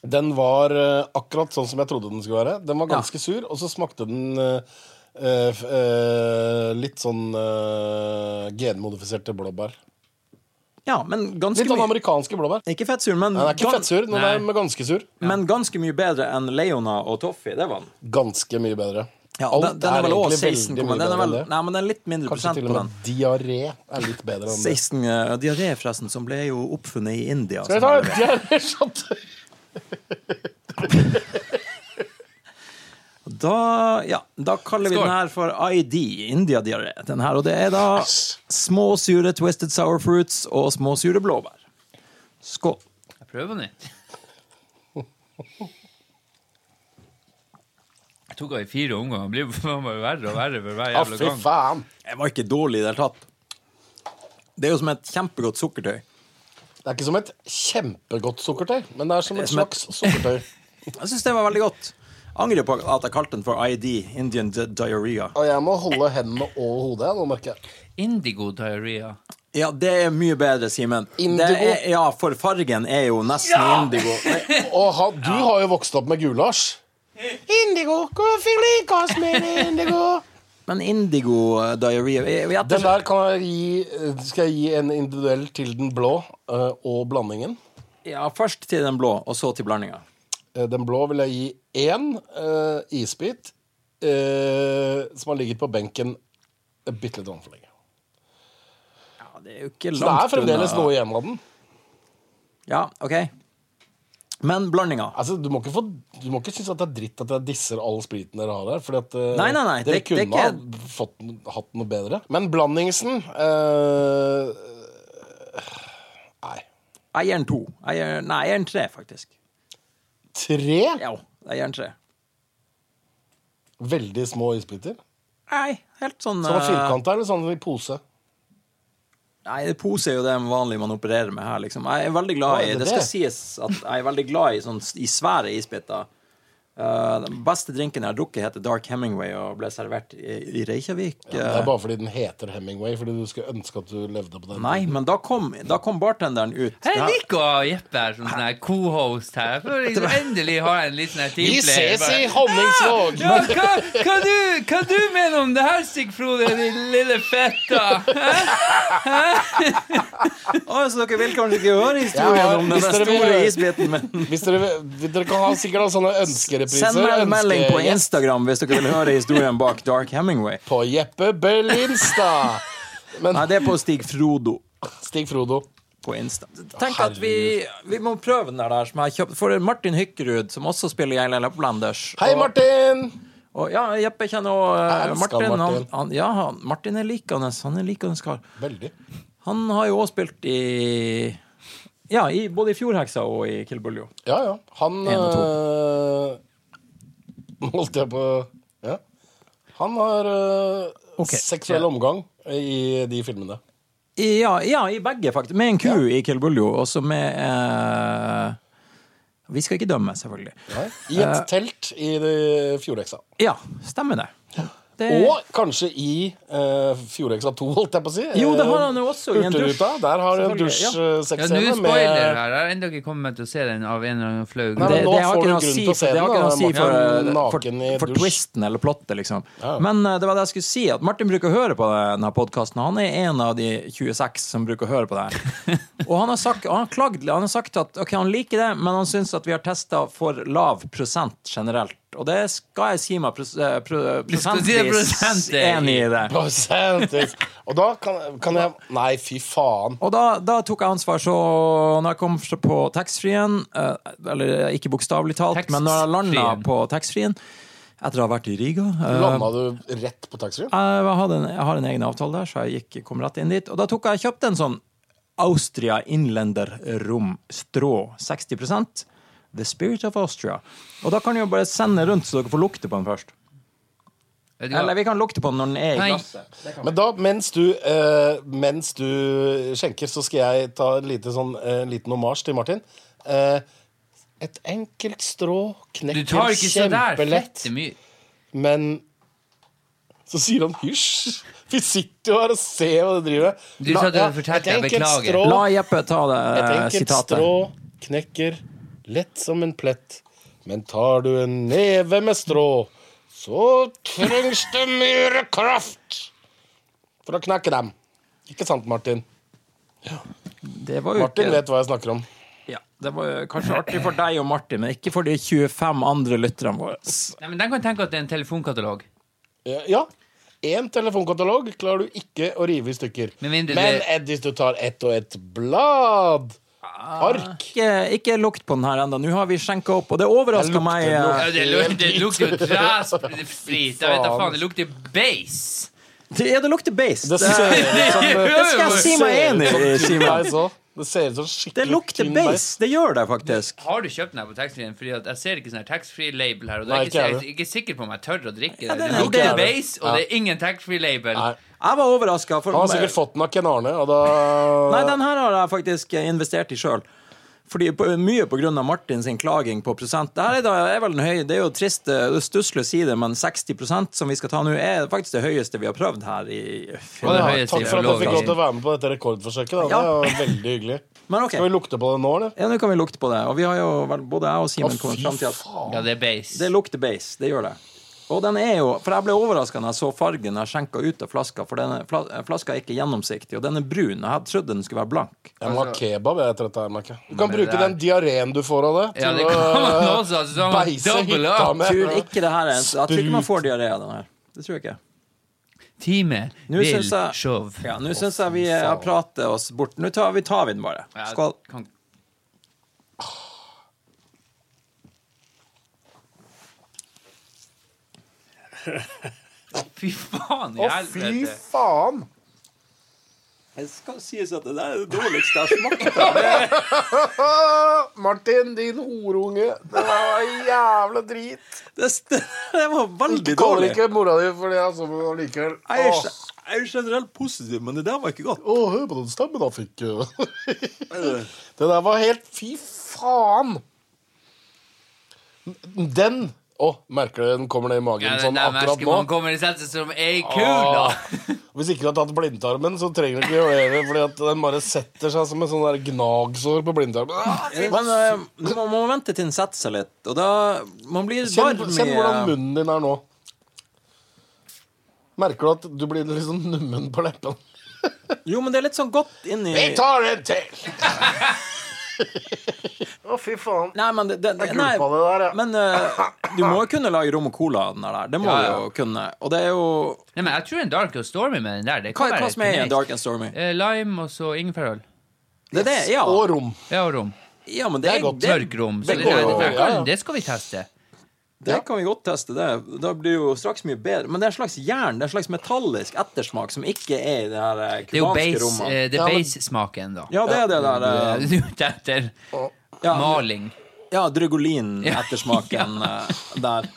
Speaker 1: Den var eh, akkurat sånn som jeg trodde den skulle være. Den var
Speaker 3: Ja.
Speaker 1: ganske sur, og så smakte den eh, eh, f- eh, litt sånn eh, genmodifiserte blåbær.
Speaker 3: Ja, men ganske
Speaker 1: Litt sånn
Speaker 3: mye
Speaker 1: amerikanske blåbær.
Speaker 3: Ikke fettsur, men,
Speaker 1: Den er ikke
Speaker 3: gan-
Speaker 1: fettsur, den
Speaker 2: Nei.
Speaker 1: er men ganske sur.
Speaker 3: men ganske mye bedre enn Leona og Toffee. Det var den.
Speaker 1: Ganske mye bedre.
Speaker 3: Ja,
Speaker 1: Alt
Speaker 3: den, den er vel også 16,
Speaker 1: veldig
Speaker 3: komma-
Speaker 1: mye
Speaker 3: den er
Speaker 1: bedre
Speaker 3: vel,
Speaker 1: enn det.
Speaker 3: nei, men den er litt mindre
Speaker 1: Kanskje
Speaker 3: prosent
Speaker 1: til
Speaker 3: på
Speaker 1: og
Speaker 3: den.
Speaker 1: med diaré er litt bedre enn det.
Speaker 3: 16 eh, diaré, forresten, som ble jo oppfunnet i India.
Speaker 1: Skal vi ta en diaré-shot?
Speaker 3: Da, ja, da kaller vi
Speaker 2: Skål.
Speaker 3: den her for ID, India-diaré. Den her, og det er da små sure twisted sour fruits og små sure blåbær. Skål.
Speaker 2: Jeg prøver nytt. Jeg tok henne i fire omganger. Det blir faen meg verre og verre for hver
Speaker 1: Ja,
Speaker 2: jævla
Speaker 1: Ah, fy
Speaker 2: gang.
Speaker 1: faen.
Speaker 3: Det var ikke dårlig i det hele tatt. Det er jo som et kjempegodt sukkertøy.
Speaker 1: Det er ikke som et kjempegodt sukkertøy, men det er som
Speaker 3: Det er
Speaker 1: et
Speaker 3: som et-
Speaker 1: slags sukkertøy.
Speaker 3: Jeg syns det var veldig godt. Angrer på at jeg kalte den for ID, Indian di- diarrhea.
Speaker 1: Og jeg må holde hendene over hodet. jeg, Nå merker jeg.
Speaker 2: Indigo diarrhea.
Speaker 3: Ja, det er mye bedre, Simen. Det
Speaker 1: Indigo.
Speaker 3: er- Ja, for fargen er jo nesten indigo. Nei,
Speaker 1: Og ha, du har jo vokst opp med gulasj. Indigo, hvorfor likas med indigo?
Speaker 3: Men indigo eh, diarrhea jeg- jeg-
Speaker 1: Den der kan jeg gi, eh, skal jeg gi en individuell til den blå eh, og blandingen.
Speaker 3: Ja, først til den blå, og så til blandinga.
Speaker 1: Eh, Den blå vil jeg gi én eh, isbit eh, som har ligget på benken bitte litt overfor lenge.
Speaker 3: Ja, det er jo ikke langt
Speaker 1: Så det er fremdeles
Speaker 3: unna.
Speaker 1: noe igjen av den.
Speaker 3: Ja, ok. Men blandinga.
Speaker 1: Altså, du, må ikke få, du må ikke synes at det er dritt at jeg disser all spriten dere har her. Fordi at eh,
Speaker 3: Nei, nei, nei,
Speaker 1: dere
Speaker 3: det-
Speaker 1: kunne
Speaker 3: det er ikke-
Speaker 1: ha fått, no- hatt noe bedre. Men blandingsen eh, Nei.
Speaker 3: Jeg gir den to. Jeg gir, nei, jeg gir den tre, faktisk.
Speaker 1: Tre
Speaker 3: Jo, jeg gir den tre.
Speaker 1: veldig små isbiter.
Speaker 3: Nei, helt sånn
Speaker 1: Sånn
Speaker 3: eh,
Speaker 1: firkanta eller sånn i pose?
Speaker 3: Nei, det pose er jo det vanlige man opererer med her, liksom. Jeg er veldig glad
Speaker 1: Hva
Speaker 3: i
Speaker 1: er det
Speaker 3: Det skal
Speaker 1: det?
Speaker 3: sies at jeg er veldig glad i, sånn, i svære isbiter. Eh, den beste drinken jeg har drukket, heter Dark Hemingway og ble servert i, i Reykjavik.
Speaker 1: Ja, det er bare fordi den heter Hemingway, fordi du skulle ønske at du levde på den.
Speaker 3: Eh, Nei, men da kom, da kom bartenderen ut.
Speaker 2: Hei,
Speaker 3: Det
Speaker 2: Jeg
Speaker 3: her-
Speaker 2: liker å ha Jeppe her som sånn her co-host her. Jeg føler liksom endelig har jeg en liten her
Speaker 1: Vi
Speaker 2: teamplayer.
Speaker 1: ses i Honningsvåg!
Speaker 2: Ja, hva, hva, du, hva du mener om det her, Stig Frode, din lille fetta?
Speaker 3: Å, så dere vil kanskje ikke
Speaker 1: Jeg har-
Speaker 3: høre historien om den
Speaker 1: hvis dere vil
Speaker 3: store
Speaker 1: høre-
Speaker 3: isbiten, men
Speaker 1: Hvis dere, vil- dere kan ha sikkert ha sånne ønskerepriser.
Speaker 3: Send meg en melding på
Speaker 1: ønskegjest.
Speaker 3: Instagram hvis dere vil høre historien bak Dark Hemingway.
Speaker 1: på Jeppe Berlinstad. Men
Speaker 3: Nei, det er på Stig Frodo
Speaker 1: Stig Frodo
Speaker 3: på Insta. Tenk at vi, vi må prøve den der, der som jeg har kjøpt for Martin Hykkerud, som også spiller i Island Laplanders.
Speaker 1: Hei, Martin!
Speaker 3: Og, og ja, Jeppe kjenner også eh,
Speaker 1: Jeg elsker
Speaker 3: Martin. Han,
Speaker 1: Martin.
Speaker 3: han, ja, han- Martin er likende. Han er likende kar.
Speaker 1: Veldig.
Speaker 3: Han har jo også spilt i Ja, i, både i Fjordheksa og i Kill Buljo.
Speaker 1: Ja, ja. Han eh,
Speaker 3: En og to.
Speaker 1: øh, Holdt jeg på Ja. Han har øh,
Speaker 4: Ok.
Speaker 1: seksuell omgang i de filmene.
Speaker 3: Ja, ja, i begge, faktisk. Med en ku i Kill Buljo, og så med eh... Vi skal ikke dømme, selvfølgelig.
Speaker 1: I et
Speaker 3: Eh.
Speaker 1: telt i det- Fjordheksa.
Speaker 3: Ja, stemmer det. det...
Speaker 1: Og kanskje i eh, Fjordheksa 2, holdt jeg på å si.
Speaker 3: Jo, det har han jo også i en dusj.
Speaker 1: Hurtigruta. Der har du en
Speaker 3: Selvfølgelig, ja.
Speaker 2: Ja,
Speaker 1: dusjsexscene
Speaker 2: nå er det
Speaker 1: med
Speaker 2: spoiler her. Jeg har ennå ikke kommet til å se den av en eller annen flau
Speaker 1: Nei,
Speaker 2: grunn.
Speaker 1: men
Speaker 3: det,
Speaker 1: nå
Speaker 3: det har
Speaker 1: får
Speaker 3: ikke
Speaker 1: du
Speaker 3: noe å
Speaker 1: grunn
Speaker 3: si
Speaker 1: til å se
Speaker 3: for, det har
Speaker 1: den,
Speaker 3: ikke noe å si
Speaker 1: da,
Speaker 3: for, eh,
Speaker 1: Martin
Speaker 3: for,
Speaker 1: naken i
Speaker 3: for
Speaker 1: dusj.
Speaker 3: twisten eller plottet, liksom.
Speaker 1: Ja.
Speaker 3: Men eh, det var det jeg skulle si, at Martin bruker å høre på denne podkasten. Han er en av de 26 som bruker å høre på det her. Og han har sagt, og han har klagd, han har sagt at ok, han liker det, men han syns at vi har testa for lav prosent generelt. Og det skal jeg si meg pros, eh, pro,
Speaker 2: skal si det
Speaker 3: prosentvis
Speaker 2: prosent, eh,
Speaker 3: enig i det.
Speaker 1: Prosentis. Og da kan, kan jeg Nei, fy faen.
Speaker 3: Og da, da tok jeg ansvar, så når jeg kom på taxfree-en, eh, eller ikke bokstavelig talt, men når jeg landa
Speaker 2: Taxfree-en.
Speaker 3: på taxfree-en etter å ha vært i Riga eh,
Speaker 1: Landa du rett på taxfree?
Speaker 3: jeg, hadde en, jeg har en egen avtale der, så jeg gikk, kom rett inn dit. Og da tok jeg kjøpte en sånn Austria Innlender Rom Strå 60 The Spirit of Austria. Og da kan jeg jo bare sende rundt, så dere får lukte på den først.
Speaker 2: Vet du hva?
Speaker 3: Eller vi kan lukte på den når den er i
Speaker 2: Nei.
Speaker 3: glasset.
Speaker 1: Men da, mens du, eh, mens du skjenker, så skal jeg ta en lite sånn, eh, liten omasj til Martin. Eh, et enkelt strå
Speaker 2: Du
Speaker 1: knekker
Speaker 2: tar ikke så der
Speaker 1: kjempelett,
Speaker 2: fette mye.
Speaker 1: men så sier han hysj. Vi sitter jo her og ser hva du driver med.
Speaker 2: Du sa du
Speaker 1: ja,
Speaker 2: fortalte,
Speaker 1: et
Speaker 2: jeg
Speaker 1: enkelt
Speaker 2: beklager.
Speaker 1: strå-
Speaker 3: La Jeppe ta det
Speaker 1: Et
Speaker 3: eh,
Speaker 1: enkelt
Speaker 3: sitatet.
Speaker 1: strå knekker lett som en plett, men tar du en neve med strå, så trengs det mer kraft for å knekke dem. Ikke sant, Martin?
Speaker 3: Det var jo
Speaker 1: Martin
Speaker 3: ikke-
Speaker 1: vet hva jeg snakker om.
Speaker 3: Ja, Det var jo kanskje artig for deg og Martin, men ikke for de 25 andre lytterne våre.
Speaker 2: Nei, men Den kan tenke at det er en telefonkatalog.
Speaker 1: Eh, Ja. Én telefonkatalog klarer du ikke å rive i stykker.
Speaker 2: Med mindre
Speaker 1: Men
Speaker 2: det-
Speaker 1: Ed, hvis du tar ett og ett blad Ark.
Speaker 3: Ikke, ikke lukt på den her ennå. Nå har vi skjenka opp, og det overrasker
Speaker 1: Jeg lukter
Speaker 3: meg.
Speaker 2: Ja,
Speaker 3: eh,
Speaker 2: det, luk, det lukter jo tresprit. Jeg vet da faen. Det lukter base.
Speaker 3: Ja, det lukter beis.
Speaker 1: Det ser ut som
Speaker 3: Det skal jeg si meg
Speaker 1: ser ut
Speaker 3: enig
Speaker 1: som
Speaker 3: i,
Speaker 1: tynn
Speaker 3: Simon.
Speaker 1: beis også. Det ser ut som skikkelig
Speaker 3: Det lukter
Speaker 1: tynn
Speaker 3: beis. Det gjør det faktisk.
Speaker 2: Har du kjøpt den her på taxfree-en? Fordi at jeg ser ikke sånn her taxfree-label her. Og det
Speaker 1: Nei,
Speaker 2: er ikke,
Speaker 1: ikke
Speaker 2: jeg er ikke sikker på om jeg tør å drikke det.
Speaker 3: det er-
Speaker 2: Det
Speaker 3: det
Speaker 2: lukter
Speaker 3: er det.
Speaker 2: base, og det er ingen taxfree-label.
Speaker 1: Nei.
Speaker 3: Jeg var overraska.
Speaker 1: Han har sikkert fått den av Ken Arne, og da
Speaker 3: Nei, den her har jeg faktisk eh, investert i sjøl. Fordi på, Mye pga. Martin sin klaging på prosent. Det her er, da, er vel den høye, det er jo trist eh, det er stusslig å si det, men 60 som vi skal ta nå, er faktisk det høyeste vi har prøvd her. i
Speaker 2: Og det
Speaker 1: Ja,
Speaker 2: er høyeste
Speaker 1: Takk for at jeg fikk lov til å
Speaker 2: lov i.
Speaker 1: være med på dette rekordforsøket. Da.
Speaker 3: Ja.
Speaker 1: Det var veldig hyggelig.
Speaker 3: Men ok.
Speaker 1: Skal vi lukte på det nå, eller?
Speaker 3: Ja, nå kan vi lukte på det. Og vi har jo, vel, både jeg og Simen
Speaker 1: Å,
Speaker 3: kommet
Speaker 1: fy
Speaker 3: fram til at
Speaker 2: Ja, det er base.
Speaker 3: det lukter beis. Det gjør det. Og den er jo, For jeg ble overraska når jeg så fargen jeg skjenka ut av flaska, for denne fla, flaska er ikke gjennomsiktig, og den er brun. og Jeg hadde trodd den skulle være blank.
Speaker 1: Jeg må ha kebab jeg, etter dette. her, merker jeg. Du kan
Speaker 2: Men det
Speaker 1: bruke
Speaker 2: der-
Speaker 1: den diareen du får av det,
Speaker 2: Ja, det
Speaker 1: å,
Speaker 2: kan man
Speaker 1: eh,
Speaker 2: også, altså, så har man
Speaker 1: beise
Speaker 2: double
Speaker 1: hytta
Speaker 2: up.
Speaker 1: med.
Speaker 3: Tror ikke det her er en, Jeg tror ikke man
Speaker 1: Sprut.
Speaker 3: får diaré av den her. Det tror jeg ikke.
Speaker 2: Time
Speaker 3: Nå
Speaker 2: vil
Speaker 3: syns jeg,
Speaker 2: show.
Speaker 3: ja, nå syns jeg vi har pratet oss bort. Nå tar vi, tar vi den bare.
Speaker 2: Ja,
Speaker 3: Skål.
Speaker 2: kan- Fy faen i
Speaker 1: Å, fy
Speaker 2: helvete.
Speaker 1: faen!
Speaker 3: Det skal sies at det der er det dårligste jeg har smakt.
Speaker 1: Ah, Martin, din horunge. Det var jævla drit.
Speaker 3: Det, det var veldig
Speaker 1: Kaller
Speaker 3: dårlig.
Speaker 1: ikke mora di for det, altså, men allikevel.
Speaker 3: Jeg er,
Speaker 1: Åh.
Speaker 3: gen- jeg er generelt positiv, men det der var ikke godt.
Speaker 1: Å, hør på den stemmen han fikk. det der var helt Fy faen! Den Å, merker du den kommer ned i magen
Speaker 2: Ja, den
Speaker 1: sånn
Speaker 2: der
Speaker 1: akkurat
Speaker 2: merkemannen
Speaker 1: nå?
Speaker 2: kommer i sette som ei kule.
Speaker 1: Hvis ikke du har tatt blindtarmen, så trenger du ikke gjøre det, fordi at den bare setter seg som et sånn der gnagsår på blindtarmen. Ah, fy
Speaker 3: Men eh, man må vente til den setter seg litt, og da Man blir
Speaker 1: Kjenn,
Speaker 3: varm
Speaker 1: kjenn hvordan
Speaker 3: i eh,
Speaker 1: munnen din er nå. Merker du at du blir litt sånn nummen på leppene?
Speaker 3: Jo, men det er litt sånn godt inni
Speaker 1: Vi tar en til! Å, fy faen.
Speaker 3: Nei, men det, det, det,
Speaker 1: Jeg
Speaker 3: nei,
Speaker 1: gulpa det der, ja.
Speaker 3: men eh, du må jo kunne lage rom og cola av den der. Det må
Speaker 2: Ja,
Speaker 3: du
Speaker 2: ja.
Speaker 3: jo kunne. Og det er jo
Speaker 2: Nei, men jeg tror en Dark og Stormy med den der. Det
Speaker 3: Hva,
Speaker 2: kan
Speaker 3: hva
Speaker 2: være
Speaker 3: som er i en
Speaker 2: kinesisk.
Speaker 3: Dark and Stormy?
Speaker 2: Eh, Lime og så ingefærøl.
Speaker 3: Det er det, eh, ja.
Speaker 1: Og rom.
Speaker 2: Ja, og rom.
Speaker 3: ja men det,
Speaker 1: Det
Speaker 3: er
Speaker 1: er godt.
Speaker 3: det,
Speaker 2: Mørk rom. Så
Speaker 3: det
Speaker 2: det,
Speaker 3: går
Speaker 2: det,
Speaker 1: jo,
Speaker 2: det,
Speaker 1: ja, ja.
Speaker 2: kan, det skal vi teste.
Speaker 3: det kan vi godt teste, det. Da blir det jo straks mye bedre. Men det er en slags jern, det er en slags metallisk ettersmak som ikke er i det her eh,
Speaker 2: Det er jo
Speaker 3: kubanske
Speaker 2: base,
Speaker 3: rommet.
Speaker 2: eh,
Speaker 1: Ja,
Speaker 2: det er
Speaker 1: men-
Speaker 2: base-smaken, da.
Speaker 3: Ja, det er det der eh,
Speaker 2: Du er ute etter
Speaker 3: ja,
Speaker 2: maling.
Speaker 3: Ja, Drugolin-ettersmaken eh, der.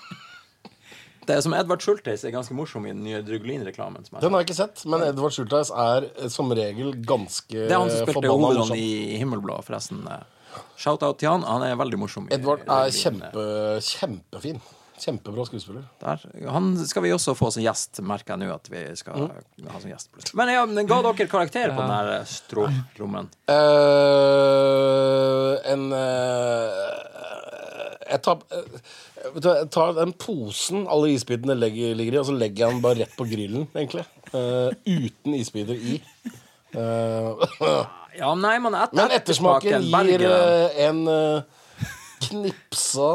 Speaker 3: Det er som Edvard Schultheis er ganske morsom i den nye Drugolin-reklamen. som jeg
Speaker 1: Den har jeg ikke sett, men Edvard Schultheis er eh, som regel ganske
Speaker 3: Det er han som spilte
Speaker 1: forbanna eh,
Speaker 3: hovedrollen
Speaker 1: morsom.
Speaker 3: i Himmelblad, forresten. eh. Shout-out til han. Han er veldig morsom. i-
Speaker 1: Edvard
Speaker 3: i-
Speaker 1: er kjempe, kjempefin. Kjempebra skuespiller.
Speaker 3: der. Han skal vi også få som gjest, merker jeg nå at vi skal
Speaker 1: Mm.
Speaker 3: ha som gjest. plutselig. Men ja, men ga dere karakter på den eh, der stråtrommen?
Speaker 1: eh en eh, jeg, tar, eh, vet du, hva, jeg tar den posen alle isbitene legger, ligger i, og så legger jeg den bare rett på grillen, egentlig. Eh, uten isbiter i. Eh,
Speaker 3: Ja, nei, men etter
Speaker 1: men ettersmaken gir eh, en eh, knipsa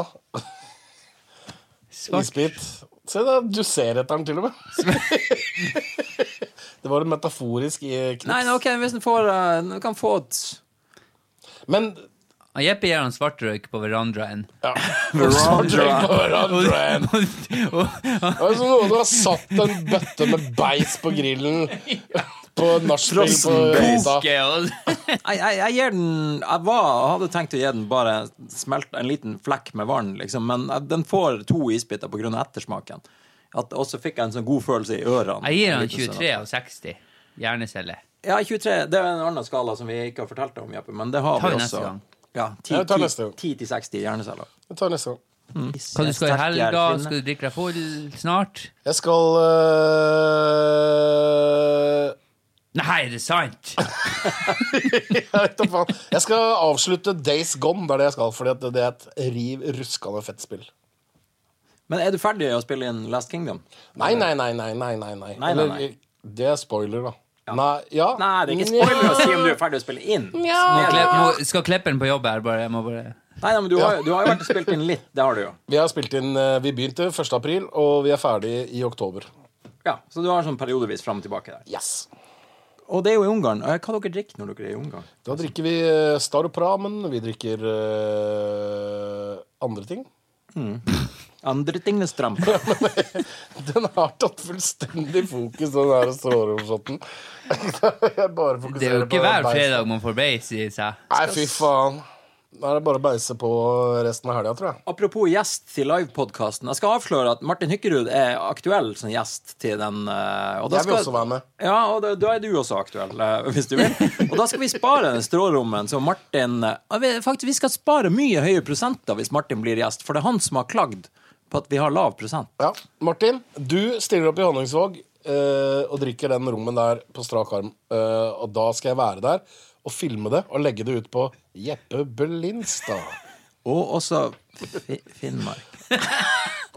Speaker 2: Svart.
Speaker 1: isbit. Se da, du ser etter den til og med. det var en metaforisk eh, knips.
Speaker 3: Nei, men ok, hvis den får eh, den kan få et
Speaker 1: Men
Speaker 2: Og Jeppe gir han svart røyk på verandaen.
Speaker 1: ja. Svart røyk på hverandre. Det er som noen har satt en bøtte med beis på grillen på nachspiel på
Speaker 3: Frossenbeis.
Speaker 1: hytta.
Speaker 2: Ok, og-
Speaker 3: jeg, jeg, jeg gir den Jeg var, hadde tenkt å gi den bare smelt en liten flekk med vann, liksom, men eh, den får to isbiter pga. ettersmaken. At, og så fikk jeg en sånn god følelse i ørene.
Speaker 2: Jeg gir han
Speaker 3: Liten sånn at-
Speaker 2: 23 av 60. Hjernecelle.
Speaker 3: Ja, 23. Det er en annen skala som vi ikke har fortalt om, Jeppe, men det har
Speaker 2: Tar vi
Speaker 3: vi
Speaker 2: neste
Speaker 3: også.
Speaker 2: gang.
Speaker 3: Ja, 10,
Speaker 1: Ja, vi tar neste gang.
Speaker 3: 10 til 60 hjerneceller.
Speaker 1: Vi tar neste gang.
Speaker 2: Hva du skal i
Speaker 3: Sterk
Speaker 2: helga?
Speaker 3: hjernefinne.
Speaker 2: Skal du drikke deg full snart?
Speaker 1: Jeg skal øh,
Speaker 2: Nei, er det sant?
Speaker 1: Jeg vet da faen. Jeg skal avslutte Days Gone, det er det jeg skal. Fordi at det er et riv ruskende fett spill.
Speaker 3: Men er du ferdig å spille inn Last Kingdom?
Speaker 1: Nei, nei, nei, nei, nei, nei, nei.
Speaker 3: nei,
Speaker 1: Eller,
Speaker 3: nei.
Speaker 1: Det er spoiler, da. Nei, ja.
Speaker 3: Nei, det er ikke spoiler å si om du er ferdig å spille inn.
Speaker 2: Må
Speaker 3: Mer-
Speaker 2: Klepp- må- Skal Kleppen på jobb her? Bare, jeg må bare
Speaker 3: Nei, nei, men du har, jo- du har jo vært og spilt inn litt. Det har du jo.
Speaker 1: Vi har spilt inn eh, Vi begynte 1. april, og vi er ferdig i oktober.
Speaker 3: Ja, Så du har sånn periodevis fram og tilbake der.
Speaker 1: Yes.
Speaker 3: Og det er jo i Ungarn. Eh, Hva dere drikker når dere er i Ungarn?
Speaker 1: Da drikker vi eh, Staropramen, vi drikker eh, andre ting.
Speaker 3: Andre ting er stramt.
Speaker 1: Den har tatt fullstendig fokus, den der strålromshoten. Jeg bare fokuserer
Speaker 2: Det er jo
Speaker 1: på
Speaker 2: ikke hver
Speaker 1: beis.
Speaker 2: fredag man får beis i seg.
Speaker 1: Nei, fy faen. Da er det bare å beise på resten av helga, tror jeg.
Speaker 3: Apropos gjest til livepodkasten. Jeg skal avsløre at Martin Hykkerud er aktuell som gjest til den. eh, Og da
Speaker 1: Jeg vil
Speaker 3: skal-
Speaker 1: også være med.
Speaker 3: Ja, og da, da er du også aktuell, eh, hvis du vil. Og da skal vi spare den strårommen som Martin eh, ja, vi- Faktisk, vi skal spare mye høye prosenter hvis Martin blir gjest, for det er han som har klagd på at vi har lav prosent.
Speaker 1: Ja. Martin, du stiller opp i Honningsvåg eh, og drikker den rommen der på strak arm. Eh, og da skal jeg være der og filme det og legge det ut på Jeppe Belinstad.
Speaker 3: Og også Fi- Finnmark.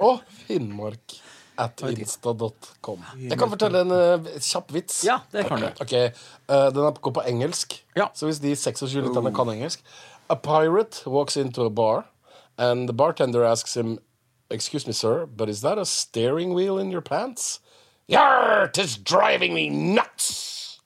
Speaker 1: Og Finnmark at insta.com. Jeg kan fortelle en eh, kjapp vits.
Speaker 3: Ja, det kan du.
Speaker 1: Ok, eh, Den er- går på engelsk.
Speaker 3: Ja.
Speaker 1: Så hvis de 26 lytterne kan engelsk A pirate walks into a bar, and the bartender asks him Excuse me, sir, but is that a steering wheel in your pants? Yarr, tis driving me nuts!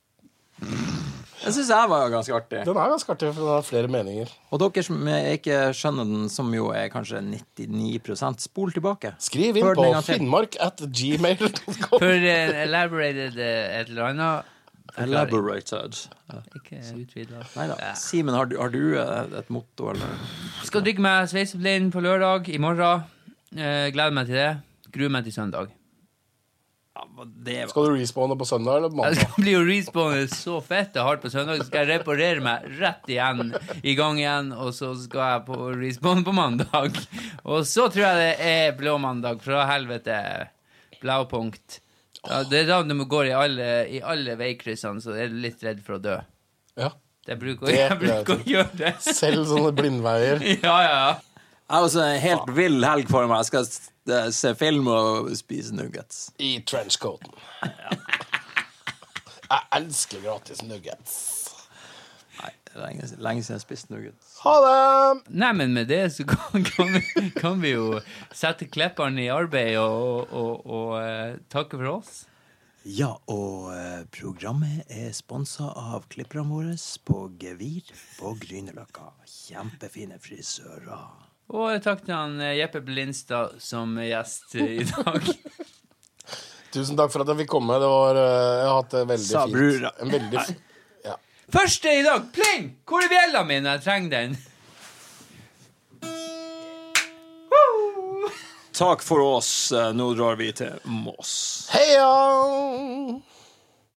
Speaker 3: Det syns jeg var ganske artig.
Speaker 1: Den er ganske artig, for den har flere meninger.
Speaker 3: Og dere som ikke skjønner den, som jo er kanskje 99 spol tilbake.
Speaker 1: Skriv inn
Speaker 3: Hør den
Speaker 1: på
Speaker 3: en gang til.
Speaker 1: finnmark at gmail.com.
Speaker 2: For eh, elaborated eh, et eller annet
Speaker 3: Elaborated.
Speaker 2: Ikke utvida.
Speaker 3: Nei da. Simen, har du, har du eh, et motto, eller?
Speaker 2: Skal drikke meg sveiseblind på lørdag i morgen. Eh, gleder meg til det. Gruer meg til søndag.
Speaker 1: Skal du respawne på søndag eller
Speaker 2: Jeg
Speaker 1: mandag?
Speaker 2: skal bli jo respawnet så fette hardt på søndag, så skal jeg reparere meg rett igjen i gang igjen, og så skal jeg på respawn på mandag. Og så tror jeg det er blå mandag, fra helvete. Blaupunkt. Ja, det er da du går i alle, i alle veikryssene, så er du litt redd for å dø.
Speaker 1: Ja.
Speaker 2: Jeg bruker, jeg bruker å gjøre det.
Speaker 1: Selv sånne blindveier.
Speaker 2: Ja, ja, ja.
Speaker 3: Jeg har også en helt vill helg for meg. Jeg skal s- eh, se film og spise nuggets.
Speaker 1: i trenchcoaten. Jeg elsker gratis nuggets.
Speaker 3: Nei, det er lenge, lenge siden jeg spiste nuggets.
Speaker 1: Ha det!
Speaker 2: Nei, men med det så kan, kan, vi, kan vi jo sette klepperen i arbeid og, og, og eh, takke for oss.
Speaker 3: Ja, og eh, programmet er sponsa av klipperne våre på Gevir på Grünerløkka. Kjempefine frisører.
Speaker 2: Og takk til han eh, Jeppe Blindstad som er gjest eh, i dag.
Speaker 1: Tusen takk for at jeg fikk komme. Det var, eh, jeg har hatt det veldig
Speaker 3: Sa
Speaker 1: fint.
Speaker 3: brura.
Speaker 1: En veldig fi- ja.
Speaker 2: Første i dag! Pling! Hvor er bjella mi når jeg trenger den? Woo!
Speaker 3: eh, Takk for oss. Nå drar vi til Moss.
Speaker 1: Heia!